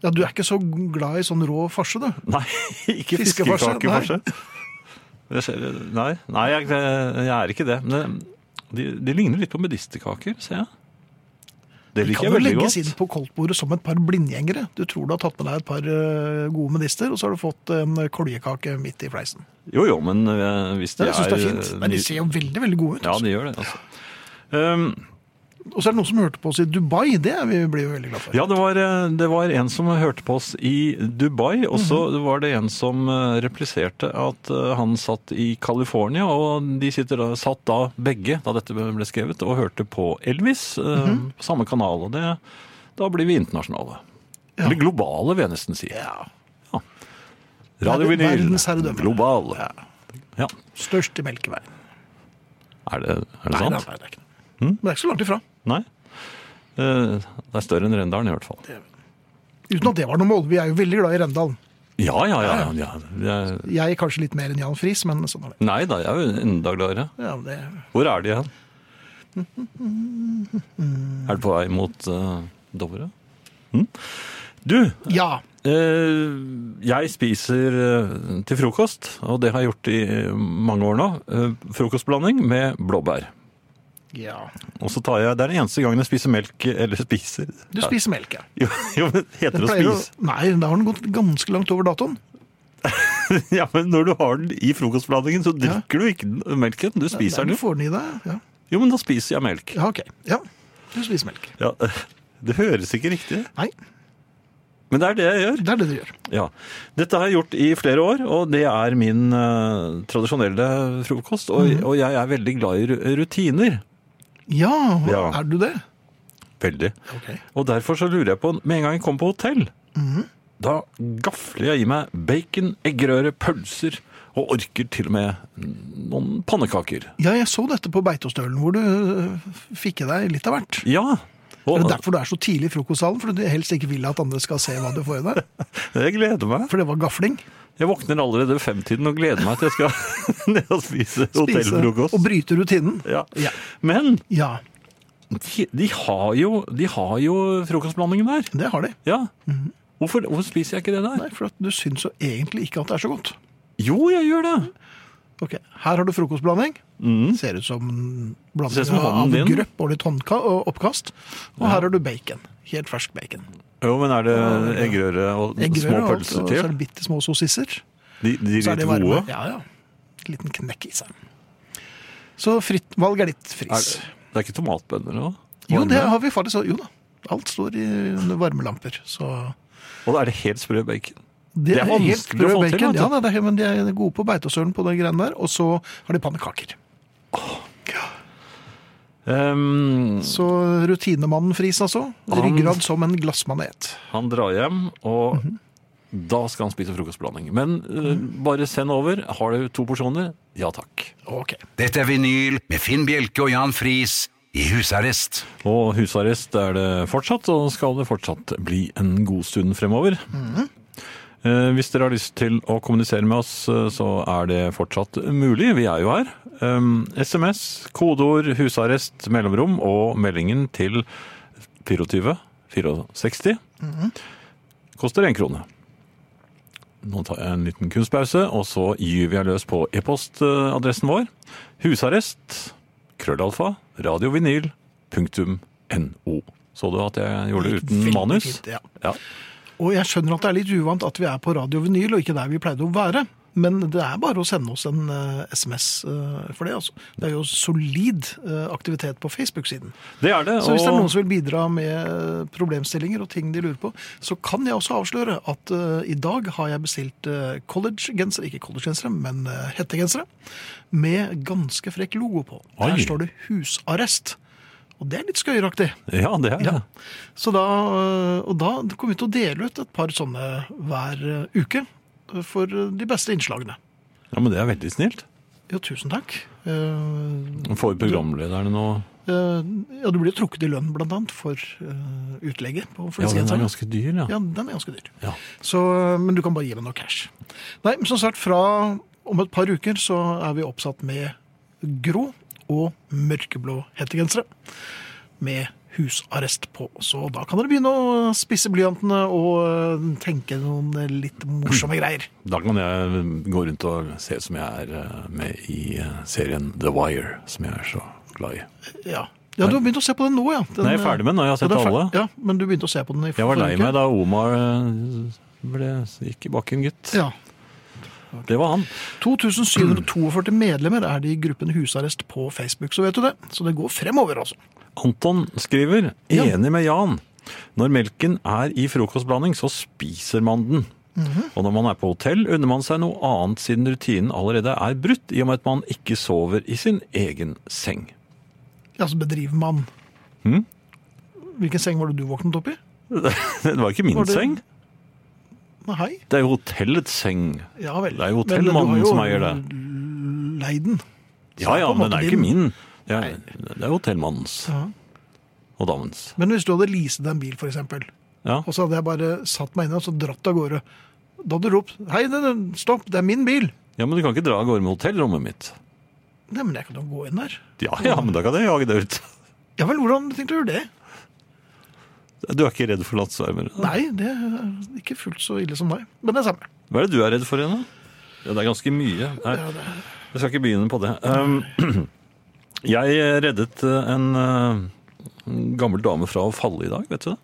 Ja, Du er ikke så glad i sånn rå farse, du. Nei, ikke Fiskefarse, fiskekakefarse. Det ser- Nei, nei jeg, jeg er ikke det. Men de, de ligner litt på medisterkaker, ser jeg. Det De liker kan jeg jo veldig legges inn godt. på koldtbordet som et par blindgjengere. Du tror du har tatt med deg et par eh, gode medister, og så har du fått eh, en koljekake midt i fleisen. Jo, jo, men eh, hvis Ja, de jeg syns det er fint. eh, Nei, de ser jo veldig veldig gode ut. Ja, altså. de gjør det, altså. Um, Og så er det noen som hørte på oss i Dubai. Det er vi blir jo veldig glad for. Ja, det var, eh, det var en som hørte på oss i Dubai, og så var det en som eh, repliserte at eh, han satt i California, og de sitter da, satt da begge, da dette ble skrevet, og hørte på Elvis eh, på samme kanal, og det, da blir vi internasjonale. Ja. Eller globale, vil jeg nesten si. Ja. Ja. Radio Verden- Vinyl, verdensherredømme. global. Ja. Størst i melkeveien. Er det, er det Nei, sant? Hm? nei, nei, det er ikke det. Men det er ikke så langt ifra. Nei. Eh, Det er større enn Rendalen i hvert fall. Uten at det var noe mål. Vi er jo veldig glad i Rendalen. Ja, ja, ja. ja. Det er- Jeg er kanskje litt mer enn Jan Friis, men sånn er det. Nei da, jeg er jo enda gladere. Ja, men det. Hvor er de hen? Er det på vei mot uh, Dovre? Mm. Du, ja. eh, jeg spiser eh, til frokost, og det har jeg gjort i eh, mange år nå, eh, frokostblanding med blåbær. ja. Og så tar jeg, Det er den eneste gangen jeg spiser melk eller spiser. Du spiser melk, ja. Jo, jo men heter det å pleier jo- spise? Nei, da har den gått ganske langt over datoen. Ja, men Når du har den i frokostblandingen, så drikker du ikke den- eh, melken. Du spiser Nei, den Du jo. får den i deg. Ja, Jo, men da spiser jeg melk. ja ok. Ja. Du spiser melk. Ja, Det høres ikke riktig ut, Nei, men det er det jeg gjør. det er det du gjør. Ja. Dette har jeg gjort i flere år, og det er min eh, tradisjonelle frokost. Og, Mhm. og jeg er veldig glad i ru- rutiner. Ja, Ja. er du det? Veldig. Ok. Og derfor så lurer jeg på, med en gang jeg kom på hotell, Mhm. da gafler jeg i meg bacon, eggerøre, pølser, og orker til og med noen pannekaker. Ja, jeg så dette på Beitostølen, hvor du øh, fikk i deg litt av hvert. Ja, Er og det derfor du er så tidlig i frokostsalen? For du helst ikke vil at andre skal se hva du får i deg? jeg gleder meg. For det var gafling. Jeg våkner allerede ved femtiden og gleder meg til jeg skal ned og Spise spise hotellfrokost. og bryte rutinen. Ja. Ja. Men Ja, de, de, har jo, de har jo frokostblandingen der. det har de. Ja. hvorfor, hvorfor spiser jeg ikke det der? Nei, for at du syns jo egentlig ikke at det er så godt. Jo, jeg gjør det. Ok, Her har du frokostblanding. Ser ut som en Mm. Ser blanding ut som av hånden din. grøpp og litt håndka og oppkast. Og her har du bacon. Helt fersk bacon. Jo, men er det eggerøre og små Eggerøre og alt, pølser og så er til? det bitte små sossisser. De, de Så er litt det varme. gode? Ja, ja. Liten knekk i seg. Så fritt valg er ditt Er fris. det, det er ikke tomatbønner nå? Jo, Varme? det har vi faktisk. Jo da. Alt står i varmelamper. Så Og er det helt sprø bacon? det, er helt vanskelig å sprø få til, bacon. vet du. Ja, da, det er, men de er gode på beitesølen på de greiene der. Og så har de pannekaker. Ehm, Så rutinemannen Friis, altså. Han- Ryggrad som en glassmanet. han drar hjem, og da skal han spise frokostblanding. Men eh, bare send over. Har du to porsjoner? Ja takk. Ok. Dette er vinyl med Finn Bjelke og Jan Friis i husarrest. Og husarrest er det fortsatt, og skal det fortsatt bli en god stund fremover. Eh, Hvis dere har lyst til å kommunisere med oss, eh, så er det fortsatt mulig. Vi er jo her. Um, SMS, kodeord, husarrest, mellomrom og meldingen til 24 64. Mhm. Koster én krone. Nå tar jeg en liten kunstpause, og så gyver jeg løs på e-postadressen vår. Husarrest, krøllalfa, radiovinyl, punktum no. Så du at jeg gjorde det uten Veldig manus? fint, ja. Ja. Og jeg skjønner at det er litt uvant at vi er på Radio Vinyl og ikke der vi pleide å være. Men det er bare å sende oss en eh, SMS eh, for det. altså. Det er jo solid eh, aktivitet på Facebook-siden. Det er det. Så hvis det er og- noen som vil bidra med eh, problemstillinger og ting de lurer på, så kan jeg også avsløre at eh, i dag har jeg bestilt eh, collegegensere, ikke collegegensere, men eh, hettegensere, med ganske frekk logo på. Oi. Her står det 'husarrest'. Og det er litt skøyeraktig. Ja, det er det. Ja. Så da, eh, og da kommer vi til å dele ut et par sånne hver eh, uke for eh, de beste innslagene. Ja, men det er veldig snilt. Jo, tusen takk. Eh, Får programlederne noe eh, ja, du blir jo trukket i lønn blant annet for eh, utlegget. På Ja, den er flisegenseren. ganske dyr, ja. ja, den er ganske dyr. Ja. Så, men du kan bare gi meg noe cash. Nei, men som sagt, fra om et par uker så er vi oppsatt med grå og mørkeblå hettegensere. Med husarrest på. Så da kan dere begynne å spisse blyantene og øh, tenke noen litt morsomme greier. Da kan jeg gå rundt og se ut som jeg er eh, med i eh, serien The Wire, som jeg er så glad i. Ja. ja, du har begynt å se på den nå, ja. Den, Nei, jeg er ferdig med den, og jeg har Ja, sett den er fer- alle. Ja, men du begynte å se på den i Jeg var lei forrige uke. meg da Omar eh, ble, gikk i bakken, gutt. Ja. Det var han. 2742 medlemmer er det i gruppen husarrest på Facebook, så vet du det. Så det går fremover, altså. Anton skriver, Ja. enig med Jan. Når melken er i frokostblanding, så spiser man den. Mhm. Og når man er på hotell, unner man seg noe annet siden rutinen allerede er brutt, i og med at man ikke sover i sin egen seng. Ja, så bedriver man. Mhm. Hvilken seng var det du våknet opp i? Det var ikke min Var det- seng. Nei, hei. Det er jo hotellets seng. Ja vel. Det Men du har er jo hotellmannen jo som eier det. Leid den. Ja ja, på en men måte det er ikke din. min. Det er, det er hotellmannens Ja. og damens. Men hvis du hadde leaset deg en bil, for eksempel, Ja. og så hadde jeg bare satt meg inn og så dratt av gårde, da hadde du ropt 'Hei, den- den- stopp, det er min bil'. ja, men du kan ikke dra av gårde med hotellrommet mitt. Nei, men jeg kan jo gå inn der. Ja ja, men da kan jeg jage deg ut. Ja vel, hvordan tenkte du det? Du er ikke redd for lattervermere? Nei, det er ikke fullt så ille som meg. Men det er samme. Hva er det du er redd for igjen, da? Ja, det er ganske mye. Nei, jeg skal ikke begynne på det. Um, jeg reddet eh, en eh, en gammel dame fra å falle i dag, vet du det?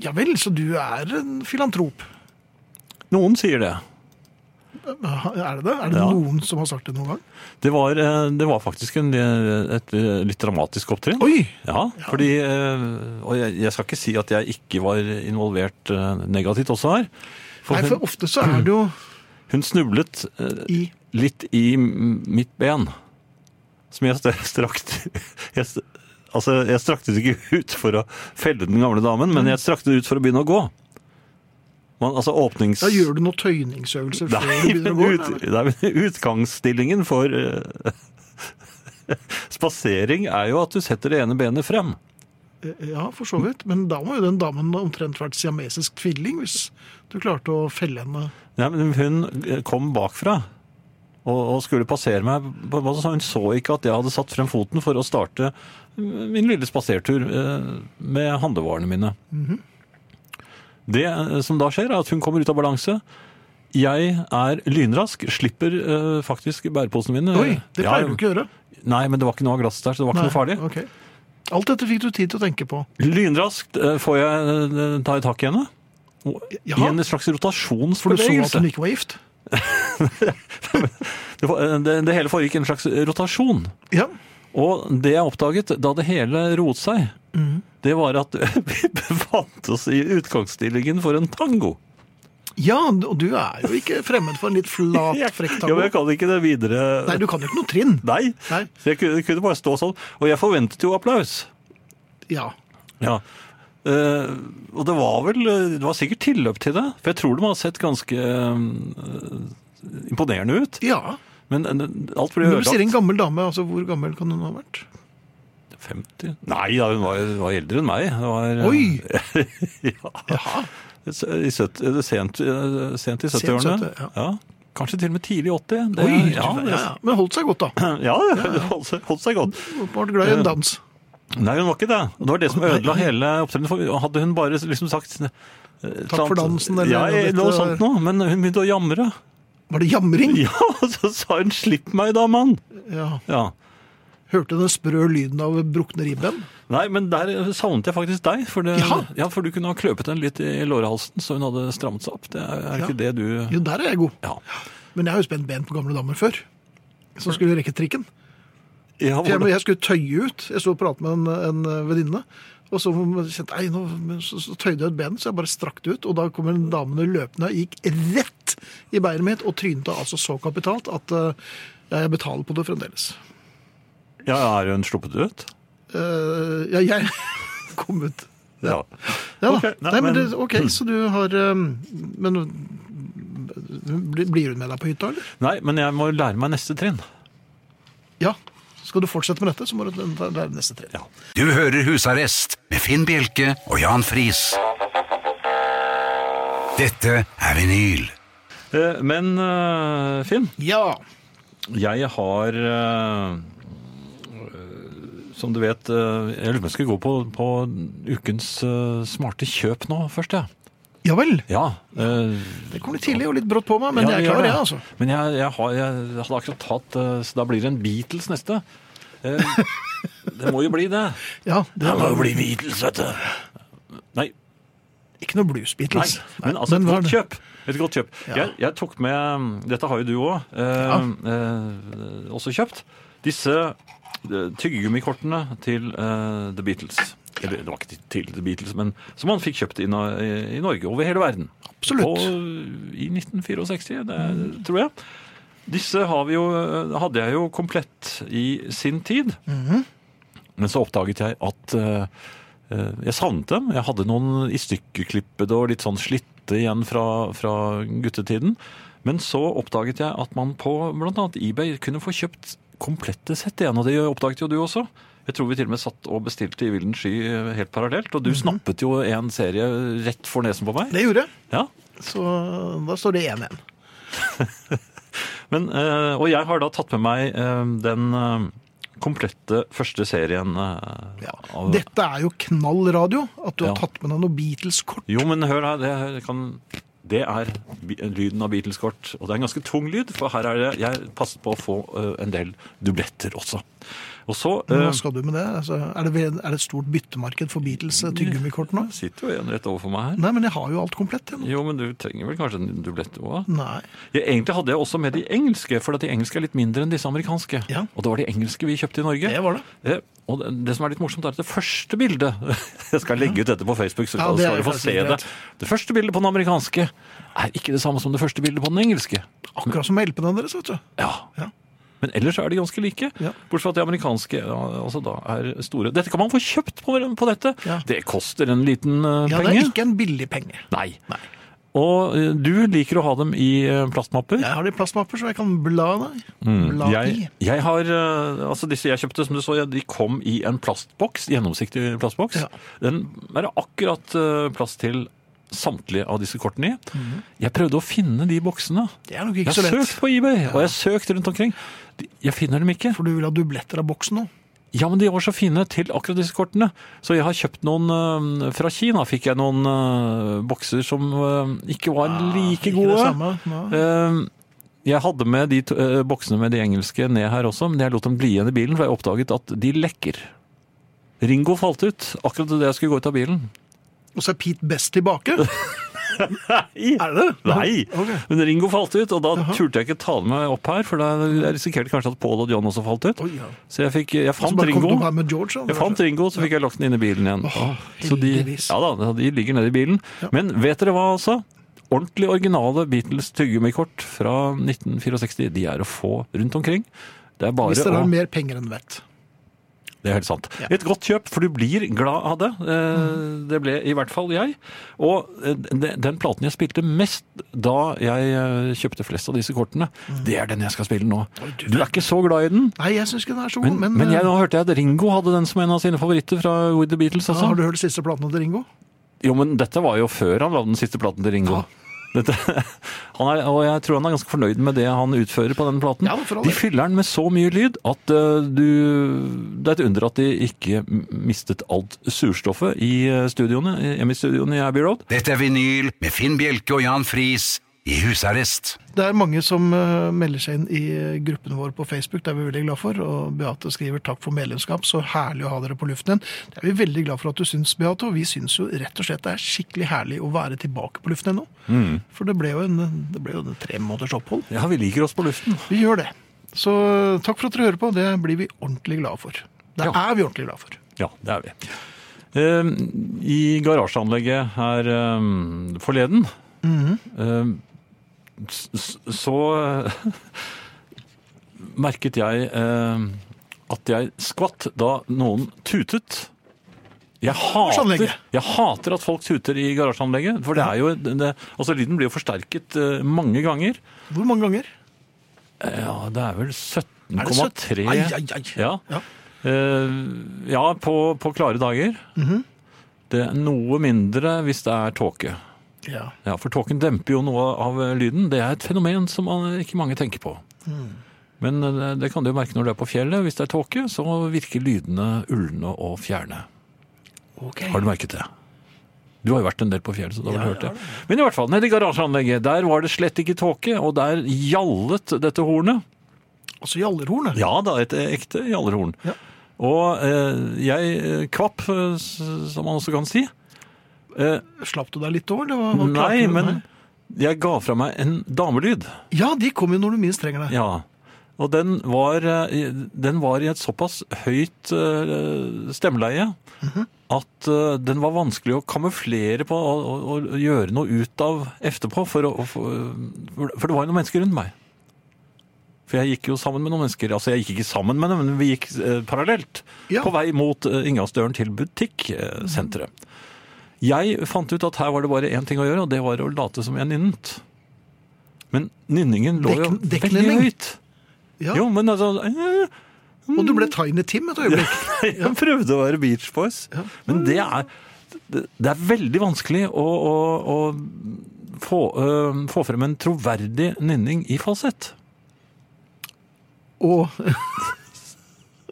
Ja vel, så du er en filantrop. Noen sier det. Er det det? Er det Ja. noen som har sagt det noen gang? Det var, eh, det var faktisk en, eh, et litt dramatisk opptrinn. Oi! Ja, fordi eh, Og jeg, jeg skal ikke si at jeg ikke var involvert eh, negativt også her. For Nei, for hun, ofte så er det jo hun snublet eh, i litt i m- mitt ben. Som jeg st- strakte jeg, st- Altså, jeg strakte det ikke ut for å felle den gamle damen, Mm. men jeg strakte det ut for å begynne å gå. Man, altså åpnings... Da gjør du noen tøyningsøvelser før Nei, du begynner å gå. ut, eller? nei, men utgangsstillingen for eh, spasering er jo at du setter det ene benet frem. Eh, Ja, for så vidt. Men da må jo den damen omtrent vært siamesisk tvilling, hvis du klarte å felle henne. Nei, men hun kom bakfra og, og skulle passere meg. på en måte, så Hun så ikke at jeg hadde satt frem foten for å starte min lille spasertur eh, med handlevarene mine. Mhm. Det eh, som da skjer, er at hun kommer ut av balanse. Jeg er lynrask, slipper eh, faktisk bæreposene mine. Oi, det Eh, Ja, pleier du ikke å gjøre. Nei, men det var ikke noe av glasset der, så det var ikke noe farlig. ok. Alt dette fikk du tid til å tenke på. Lynraskt eh, får jeg eh, ta i tak i henne. Og- Ja. I en For slags du så at rotasjonsbevegelse. hun ikke var gift. Det, var- eh, det, det hele foregikk i en slags rotasjon. Ja, Og det jeg oppdaget da det hele roet seg, Mm. det var at vi befant oss i utgangsstillingen for en tango. ja og du er jo ikke fremmed for en litt flat, frekk Ja, men tango. jeg kan ikke det videre. Nei, du kan jo ikke noe trinn. Nei. Nei. Så jeg kunne, kunne bare stå sånn. Og jeg forventet jo applaus. Ja. Ja. Eh, og det var vel Det var sikkert tilløp til det, for jeg tror det må ha sett ganske eh, imponerende ut. ja. Men eh, alt ble Når du sier en ødelagt. gammel dame, altså hvor gammel kan hun ha vært? 50? Nei da, hun var, var eldre enn meg. Det var, eh, Oi! ja. Jaha. I søt, eh, sent, eh, sent i Sent 70-årene. 70, ja. Kanskje til og med tidlig 80. Det, Oi, ja, ja, det, ja. Men holdt seg godt, da. ja, det holdt seg- holdt seg godt. Åpenbart glad i en dans. Nei, hun var ikke det. Og Det var det som ødela hele opptredenen. for Hadde hun bare liksom sagt eh, et Takk for eller annet- dansen, eller ja, noe eh, eh, dette noe var- sånt noe. Men hun begynte å jamre. Var det jamring? Ja, og så sa hun 'slipp meg da, mann'. Ja. Ja. Hørte den sprø lyden av brukne ribben? Nei, men der savnet jeg faktisk deg. For, det, Ja. ja, for du kunne ha kløpet henne litt i lårhalsen, så hun hadde strammet seg opp. Det er, er ikke det du Jo, der er jeg god. Ja. Men jeg har jo spent ben på gamle damer før. Som skulle rekke trikken. ja For jeg, hvordan- jeg skulle tøye ut. Jeg så og pratet med en, en venninne. Og så kjente jeg, nå, men så, så tøyde jeg ut benet, så jeg bare strakk det ut. Og da kom en damene løpende og gikk rett i beinet mitt og trynet altså så kapitalt at eh, ja, jeg betaler på det fremdeles. ja, er hun sluppet ut? Eh, ja, jeg kom ut. Ja. Ja da. Ok, nei, nei, men, men- det, ok, så du har eh, Men blir blir hun med deg på hytta, eller? Nei, men jeg må lære meg neste trinn. Ja. Skal du fortsette med dette, så må du lære neste trinn. Ja. Du hører Husarrest med Finn Bjelke og Jan Friis. Dette er vinyl. Eh, Men eh, Finn, Ja. jeg har eh, eh, Som du vet eh, Jeg lurer på om jeg skal gå på, på ukens eh, smarte kjøp nå først, jeg. Ja vel. Ja. eh, Det kom litt tidlig og litt brått på meg, men ja, jeg gjør klarer det, det. altså. Men jeg, jeg, har, jeg hadde akkurat tatt eh, Så da blir det en Beatles neste. Eh, det må jo bli det. Ja, det var bli Beatles, vet du. Nei, ikke noe Blues Nei, Beatles. men altså et hva er godt det? kjøp. Et godt kjøp. Ja. Jeg, jeg tok med mm, Dette har jo du òg også kjøpt. Disse eh, tyggegummikortene til eh, The Beatles. Eller det var ikke til The Beatles, men som han fikk kjøpt i, Nor- i Norge. Over hele verden. Absolutt. Og I 1964, det tror jeg. Disse har vi jo, eh, hadde jeg jo komplett i sin tid. Men så oppdaget jeg at eh, eh, jeg savnet dem. Jeg hadde noen i stykkeklippede og litt sånn slitte igjen fra, fra guttetiden. Men så oppdaget jeg at man på bl.a. eBay kunne få kjøpt komplette sett igjen. Og det oppdaget jo du også. Jeg tror vi til og med satt og bestilte i villen sky eh, helt parallelt. Og du Mhm. snappet jo en serie rett for nesen på meg. Det gjorde jeg. Ja, Så da står det 1-1. Men, eh, og jeg har da tatt med meg eh, den eh, komplette første serien eh, Ja. av Dette er jo knall radio, at du Ja. har tatt med deg noe Beatles-kort. Jo, men hør her, det, kan, det er bi- lyden av Beatles-kort. Og det er en ganske tung lyd, for her er det Jeg passet på å få eh, en del dubletter også. Og så Men Hva eh, skal du med det? Altså, er, det ved- er det et stort byttemarked for Beatles-tyggegummikort nå? sitter jo en rett overfor meg her. Nei, men jeg har jo alt komplett. Jeg. nå. Jo, men du trenger vel kanskje en dublett òg? Nei. Ja, egentlig hadde jeg også med de engelske, for at de engelske er litt mindre enn disse amerikanske. Ja. Og det var de engelske vi kjøpte i Norge. Det var det. Eh, Og det- det som er litt morsomt, er at det første bildet Jeg skal legge ut dette på Facebook, så Ja, det skal er dere få faktisk se greit. det. Det første bildet på den amerikanske er ikke det samme som det første bildet på den engelske. Akkurat som med LP-ene deres, vet du. Ja. Ja. Men ellers er de ganske like. Ja. Bortsett fra at de amerikanske ja, altså da er store. Dette kan man få kjøpt på, på dette. Ja. Det koster en liten eh, Ja, det penge. er ikke en billig penge. Nei. Og eh, du liker å ha dem i eh, plastmapper. Jeg har de plastmapper som jeg kan bla deg. Bla i. Mm, Jeg, jeg har, eh, altså Disse jeg kjøpte, som du så, ja, de kom i en plastboks, gjennomsiktig plastboks. Ja. Den er det akkurat eh, plass til samtlige av disse kortene i. Jeg prøvde å finne de boksene. Det er nok Jeg Mhm. ikke har så lett. søkt på eBay, og jeg har søkt rundt omkring. De- Jeg finner dem ikke. For du vil ha dubletter av boksen nå. Ja, men de var så fine til akkurat disse kortene. Så jeg har kjøpt noen eh, fra Kina. Fikk jeg noen eh, bokser som eh, ikke var like ikke gode. det samme, nei. Eh, jeg hadde med de to, eh, boksene med de engelske ned her også, men jeg lot dem bli igjen i bilen, for jeg oppdaget at de lekker. Ringo falt ut akkurat da jeg skulle gå ut av bilen. Og så er Pete Best tilbake. Nei! Er det det? Nei! Ok. Men Ringo falt ut, og da turte jeg ikke ta dem med opp her, for da jeg risikerte kanskje at Paul og John også falt ut. Oi, ja. Så jeg, fikk, jeg Så fant bare kom Ringo. du her med George. da, Jeg kanskje. fant Ringo, så fikk jeg lagt den inn i bilen igjen. Åh, så de, heldigvis. ja da, de ligger nede i bilen. Men vet dere hva, altså? Ordentlig originale Beatles tyggegummikort fra 1964, de er å få rundt omkring. Det er bare Hvis dere å... har mer penger enn vett. Det er helt sant. Ja. Et godt kjøp, for du blir glad av det. Eh, Det ble i hvert fall jeg. Og eh, de- den platen jeg spilte mest da jeg eh, kjøpte flest av disse kortene, det er den jeg skal spille nå. Mm. du Du er ikke så glad i den, Nei, jeg syns ikke den er så god, men, men, eh, men, jeg, nå hørte jeg at Ringo hadde den som en av sine favoritter fra With The Beatles. ja, Altså. Har du hørt de siste platene til Ringo? Jo, men dette var jo før han lagde den siste platen til Ringo. Dette, han er, og jeg tror han er ganske fornøyd med det han utfører på den platen. Ja, for all de del. fyller den med så mye lyd at eh, du Det er et under at de ikke mistet alt surstoffet i eh, studioene, i- hjemme i studioene i Abbey Road. Dette er vinyl med Finn Bjelke og Jan Friis i husarrest. Det er mange som eh, melder seg inn i eh, gruppen vår på Facebook, det er vi veldig glad for. Og Beate skriver 'takk for medlemskap', så herlig å ha dere på luften igjen. Det er vi veldig glad for at du syns, Beate, og vi syns jo rett og slett det er skikkelig herlig å være tilbake på luften igjen nå. Mm. For det ble jo en, det ble jo en tre måneders opphold. Ja, vi liker oss på luften. Vi gjør det. Så eh, takk for at dere hører på, det blir vi ordentlig glad for. Det Ja. er vi ordentlig glad for. Ja, det er vi. Eh, I garasjeanlegget her eh, forleden eh, s- s- så eh, merket jeg eh, at jeg skvatt da noen tutet. Jeg hater, Garasjeanlegget. jeg hater at folk tuter i garasjeanlegget, for det er jo, det, altså lyden blir jo forsterket eh, mange ganger. Eh, Hvor mange ganger? Ja, det er vel Er det søtt? 17,3 Ai, ai, ai. ja. Ja. Eh, ja, på, på klare dager. Det er noe mindre hvis det er tåke. Ja. Ja, For tåken demper jo noe av eh, lyden. Det er et fenomen som eh, ikke mange tenker på. Men eh, det kan du jo merke når du er på fjellet. Hvis det er tåke, så virker lydene ulne og fjerne. Ok. Har du merket det? Du har jo vært en del på fjellet, så da har du hørt det. Men i hvert fall, nede i garasjeanlegget, der var det slett ikke tåke, og der gjallet dette hornet. Altså gjallerhornet. Ja da, et ekte gjallerhorn. Ja. Og eh, jeg eh, kvapp, eh, s- som man også kan si. Eh, Slapp du deg litt over? Det var, var nei, klart du- men jeg ga fra meg en damelyd. Ja, de kommer jo når du minst trenger det. Ja. Og den var, eh, i- den var i et såpass høyt eh, stemmeleie Mhm. at eh, den var vanskelig å kamuflere på og, og, og gjøre noe ut av etterpå. For, å, for, for det var jo noen mennesker rundt meg. For jeg gikk jo sammen med noen mennesker. Altså, jeg gikk ikke sammen med dem, men vi gikk eh, parallelt. Ja. På vei mot eh, inngangsdøren til butikksenteret. Jeg fant ut at her var det bare én ting å gjøre, og det var å late som jeg nynnet. Men nynningen lå jo Dekk- veldig dekknynning. høyt. Ja. Jo, men altså eh, Og du ble Tiny Tim et øyeblikk. Jeg prøvde å være Beach Boys. Men det er, det det er veldig vanskelig å, å, å få, eh, få frem en troverdig nynning i falsett. Og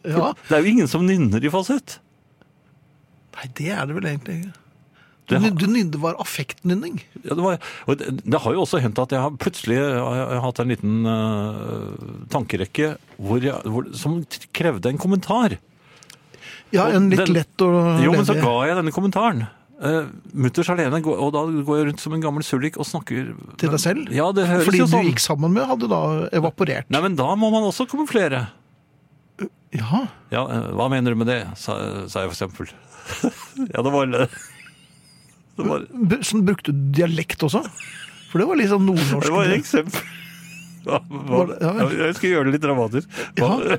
Ja. Det er jo ingen som nynner i falsett. Nei, det er det vel egentlig ikke. Du, Det har, du nynde var affektnynning. ja, det, var, og det, det har jo også hendt at jeg har plutselig har jeg hatt en liten eh, tankerekke hvor jeg, hvor, som krevde en kommentar. Ja, Og en litt den- lett og Jo, men så ledig- ga jeg denne kommentaren. Eh, Mutters alene, går- og da går jeg rundt som en gammel sullik og snakker til deg selv. Ja, det høres Fordi jo sånn. du gikk sammen med, hadde da evaporert. Nei, men da må man også kamuflere. Ja, Ja, eh, hva mener du med det, sa, sa jeg for eksempel. ja, det var, det var, B- sånn Brukte du dialekt også? For det var liksom nordnorsk. det var et eksempel. Hva, hva, Ja, vel. jeg skal gjøre det litt dramatisk. Hva,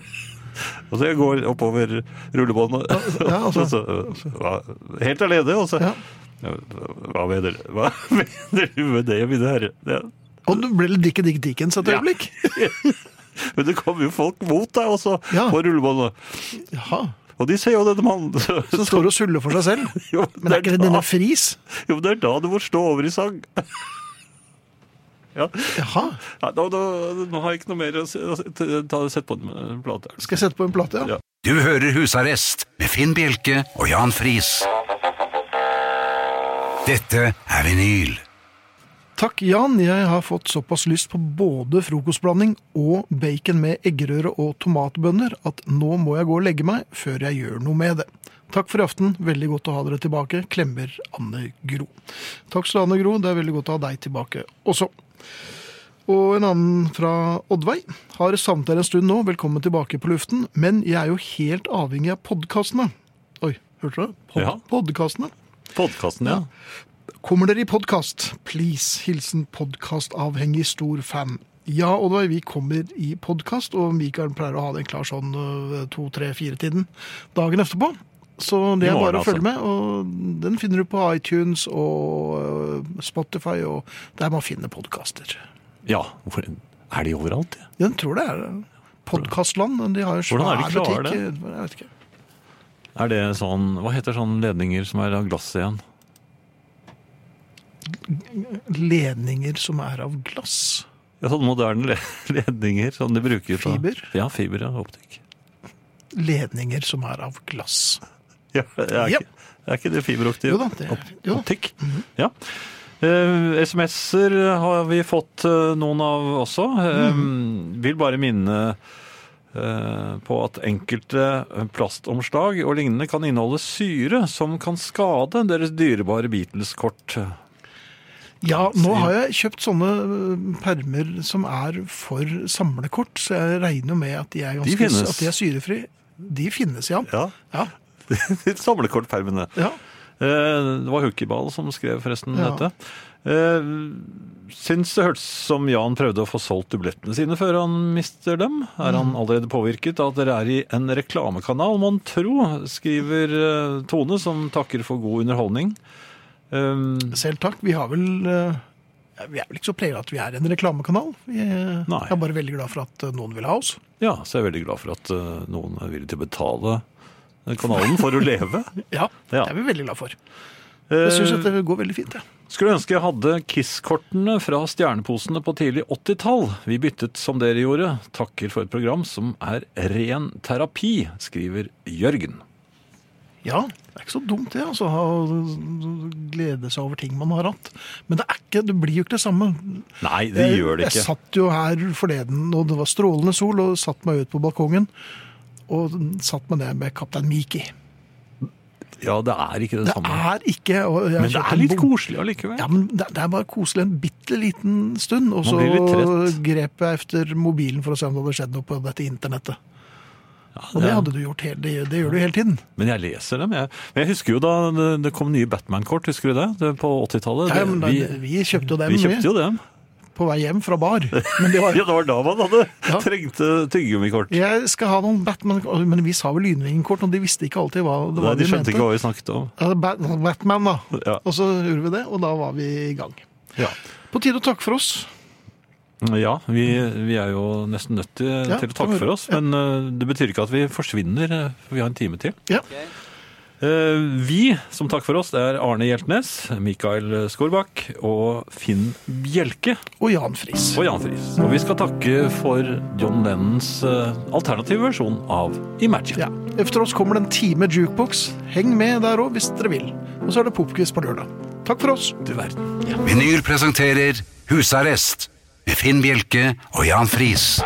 Og så jeg går oppover rullebåndet, ja, altså. og så, eh, hva- helt alene, og så Ja. Hva mener, du- hva mener du med det, mine herrer? Ja. Og du ble litt Dickie Dick Dickens et Ja. sånn øyeblikk. Men det kommer jo folk mot deg også, Ja. på rullebåndet. Jaha. Og de ser jo denne mannen. Så står du og suller for seg selv. Jo, Men er ikke det da- denne fris? Jo, men det er da du må stå over i sang. ja. Jaha. Nei, nå, nå, nå har jeg ikke noe mer å se- å se- til- ta sett på den eh, plata. Skal jeg sette på en plate? Ja. Ja. Du hører Husarrest med Finn Bjelke og Jan Friis. Dette er vinyl. Takk, Jan. Jeg har fått såpass lyst på både frokostblanding og bacon med eggerøre og tomatbønner at nå må jeg gå og legge meg før jeg gjør noe med det. Takk for i aften. Veldig godt å ha dere tilbake. Klemmer Anne Gro. Takk skal du ha, Anne Gro. Det er veldig godt å ha deg tilbake også. Og en annen fra Oddveig. Har savnet dere en stund nå. Velkommen tilbake på luften. Men jeg er jo helt avhengig av podkastene. Oi, hørte du det? Pod Ja. Podkastene. Podkasten, ja. Kommer dere i podkast? Please. Hilsen podkastavhengig stor fan. Ja, Oddvar, vi kommer i podkast, og Mikael pleier å ha den klar sånn to-tre-fire-tiden dagen etterpå. Så det I er morgen, bare å altså. følge med, og den finner du på iTunes og øh, Spotify og der man finner podkaster. Ja, hvor- Er de overalt? ja? Jeg tror det er Podkastland, de har jo Hvordan er svær de klarer butikk. Jeg vet ikke. Er det sånn Hva heter sånne ledninger som er av glass igjen? ledninger som er av glass. Ja, sånne moderne le- ledninger som de bruker på Fiber? Ja, fiber og optikk. Ledninger som er av glass. Ja, er, Ja. Ikke, er ikke det fiberoptikk? Jo da, det, jo da. optikk. Ja. Eh, SMS-er har vi fått eh, noen av også. Eh, Vil bare minne eh, på at enkelte eh, plastomslag og lignende kan inneholde syre som kan skade deres dyrebare Beatles-kort. Ja, nå har jeg kjøpt sånne øh, permer som er for samlekort, så jeg regner jo med at de er, De ganske, finnes. at de er syrefri. De finnes, ja. Ja, Ja, samlekortpermene. ja. Eh, Det var Hukkiball som skrev forresten Ja. dette. Eh, Syns det hørtes som Jan prøvde å få solgt dublettene sine før han mister dem. Er Mm. han allerede påvirket av at dere er i en reklamekanal, mon tro? Skriver eh, Tone, som takker for god underholdning. Eh, Selv takk. Vi har vel øh, ja, Vi er vel ikke så prega at vi er en reklamekanal. Vi er, Nei. jeg er bare veldig glad for at øh, noen vil ha oss. Ja, så jeg er veldig glad for at eh, noen er villig til å betale eh, kanalen for å leve. Ja, Ja. det er vi veldig glad for. Eh, Jeg syns dette går veldig fint, jeg. Skulle ønske jeg hadde Kiss-kortene fra stjerneposene på tidlig 80-tall. Vi byttet som dere gjorde. Takker for et program som er ren terapi, skriver Jørgen. Ja, det er ikke så dumt det, altså. Å glede seg over ting man har hatt. Men det, er ikke, det blir jo ikke det samme. Nei, det Jeg- gjør det Jeg ikke. satt jo her forleden, og det var strålende sol, og satt meg ut på balkongen. Og satt meg ned med Kaptein Miki. Ja, det er ikke det Det samme. er ikke og jeg har Men det kjøpt er en litt bok- koselig allikevel. Ja, men det, det er bare koselig en bitte liten stund, og Man så blir litt trett. grep jeg efter mobilen for å se om det hadde skjedd noe på dette internettet. Og det Ja. hadde du gjort, hele, det, det gjør du hele tiden. Men jeg leser dem. Jeg, men jeg husker jo da det, det kom nye Batman-kort, husker du det? det på 80-tallet. Ja, Det- men da, vi, Vi, kjøpte jo dem, vi kjøpte jo dem. på vei hjem fra bar. Men det Ja, var, det var da man hadde Ja. trengte tyggegummikort. Jeg skal ha noen Batman Men vi sa vel Lynvingen-kort, og de visste ikke alltid hva det Nei, var de de, skjønte mente. ikke hva vi snakket om. Ja, Bat- Batman, da. Ja. Og så gjorde vi det, og da var vi i gang. Ja. På tide å takke for oss. Ja, vi, vi er jo nesten nødt til, Ja, til å det takke var- for oss, men eh, det betyr ikke at vi forsvinner, eh, for vi har en time til. Ja. Eh, vi som takker for oss, det er Arne Hjeltnes, Mikael Skorbakk og Finn Bjelke Og Jan Friis. og Jan Friis. Og vi skal takke for John Lennons eh, alternative versjon av Imagine. Ja. Efter oss kommer det en time jukebox. Heng med der òg, hvis dere vil. Og så er det popquiz på lørdag. Takk for oss. Du verden. Vinyl presenterer Husarrest med Finn Bjelke og Jan Friis.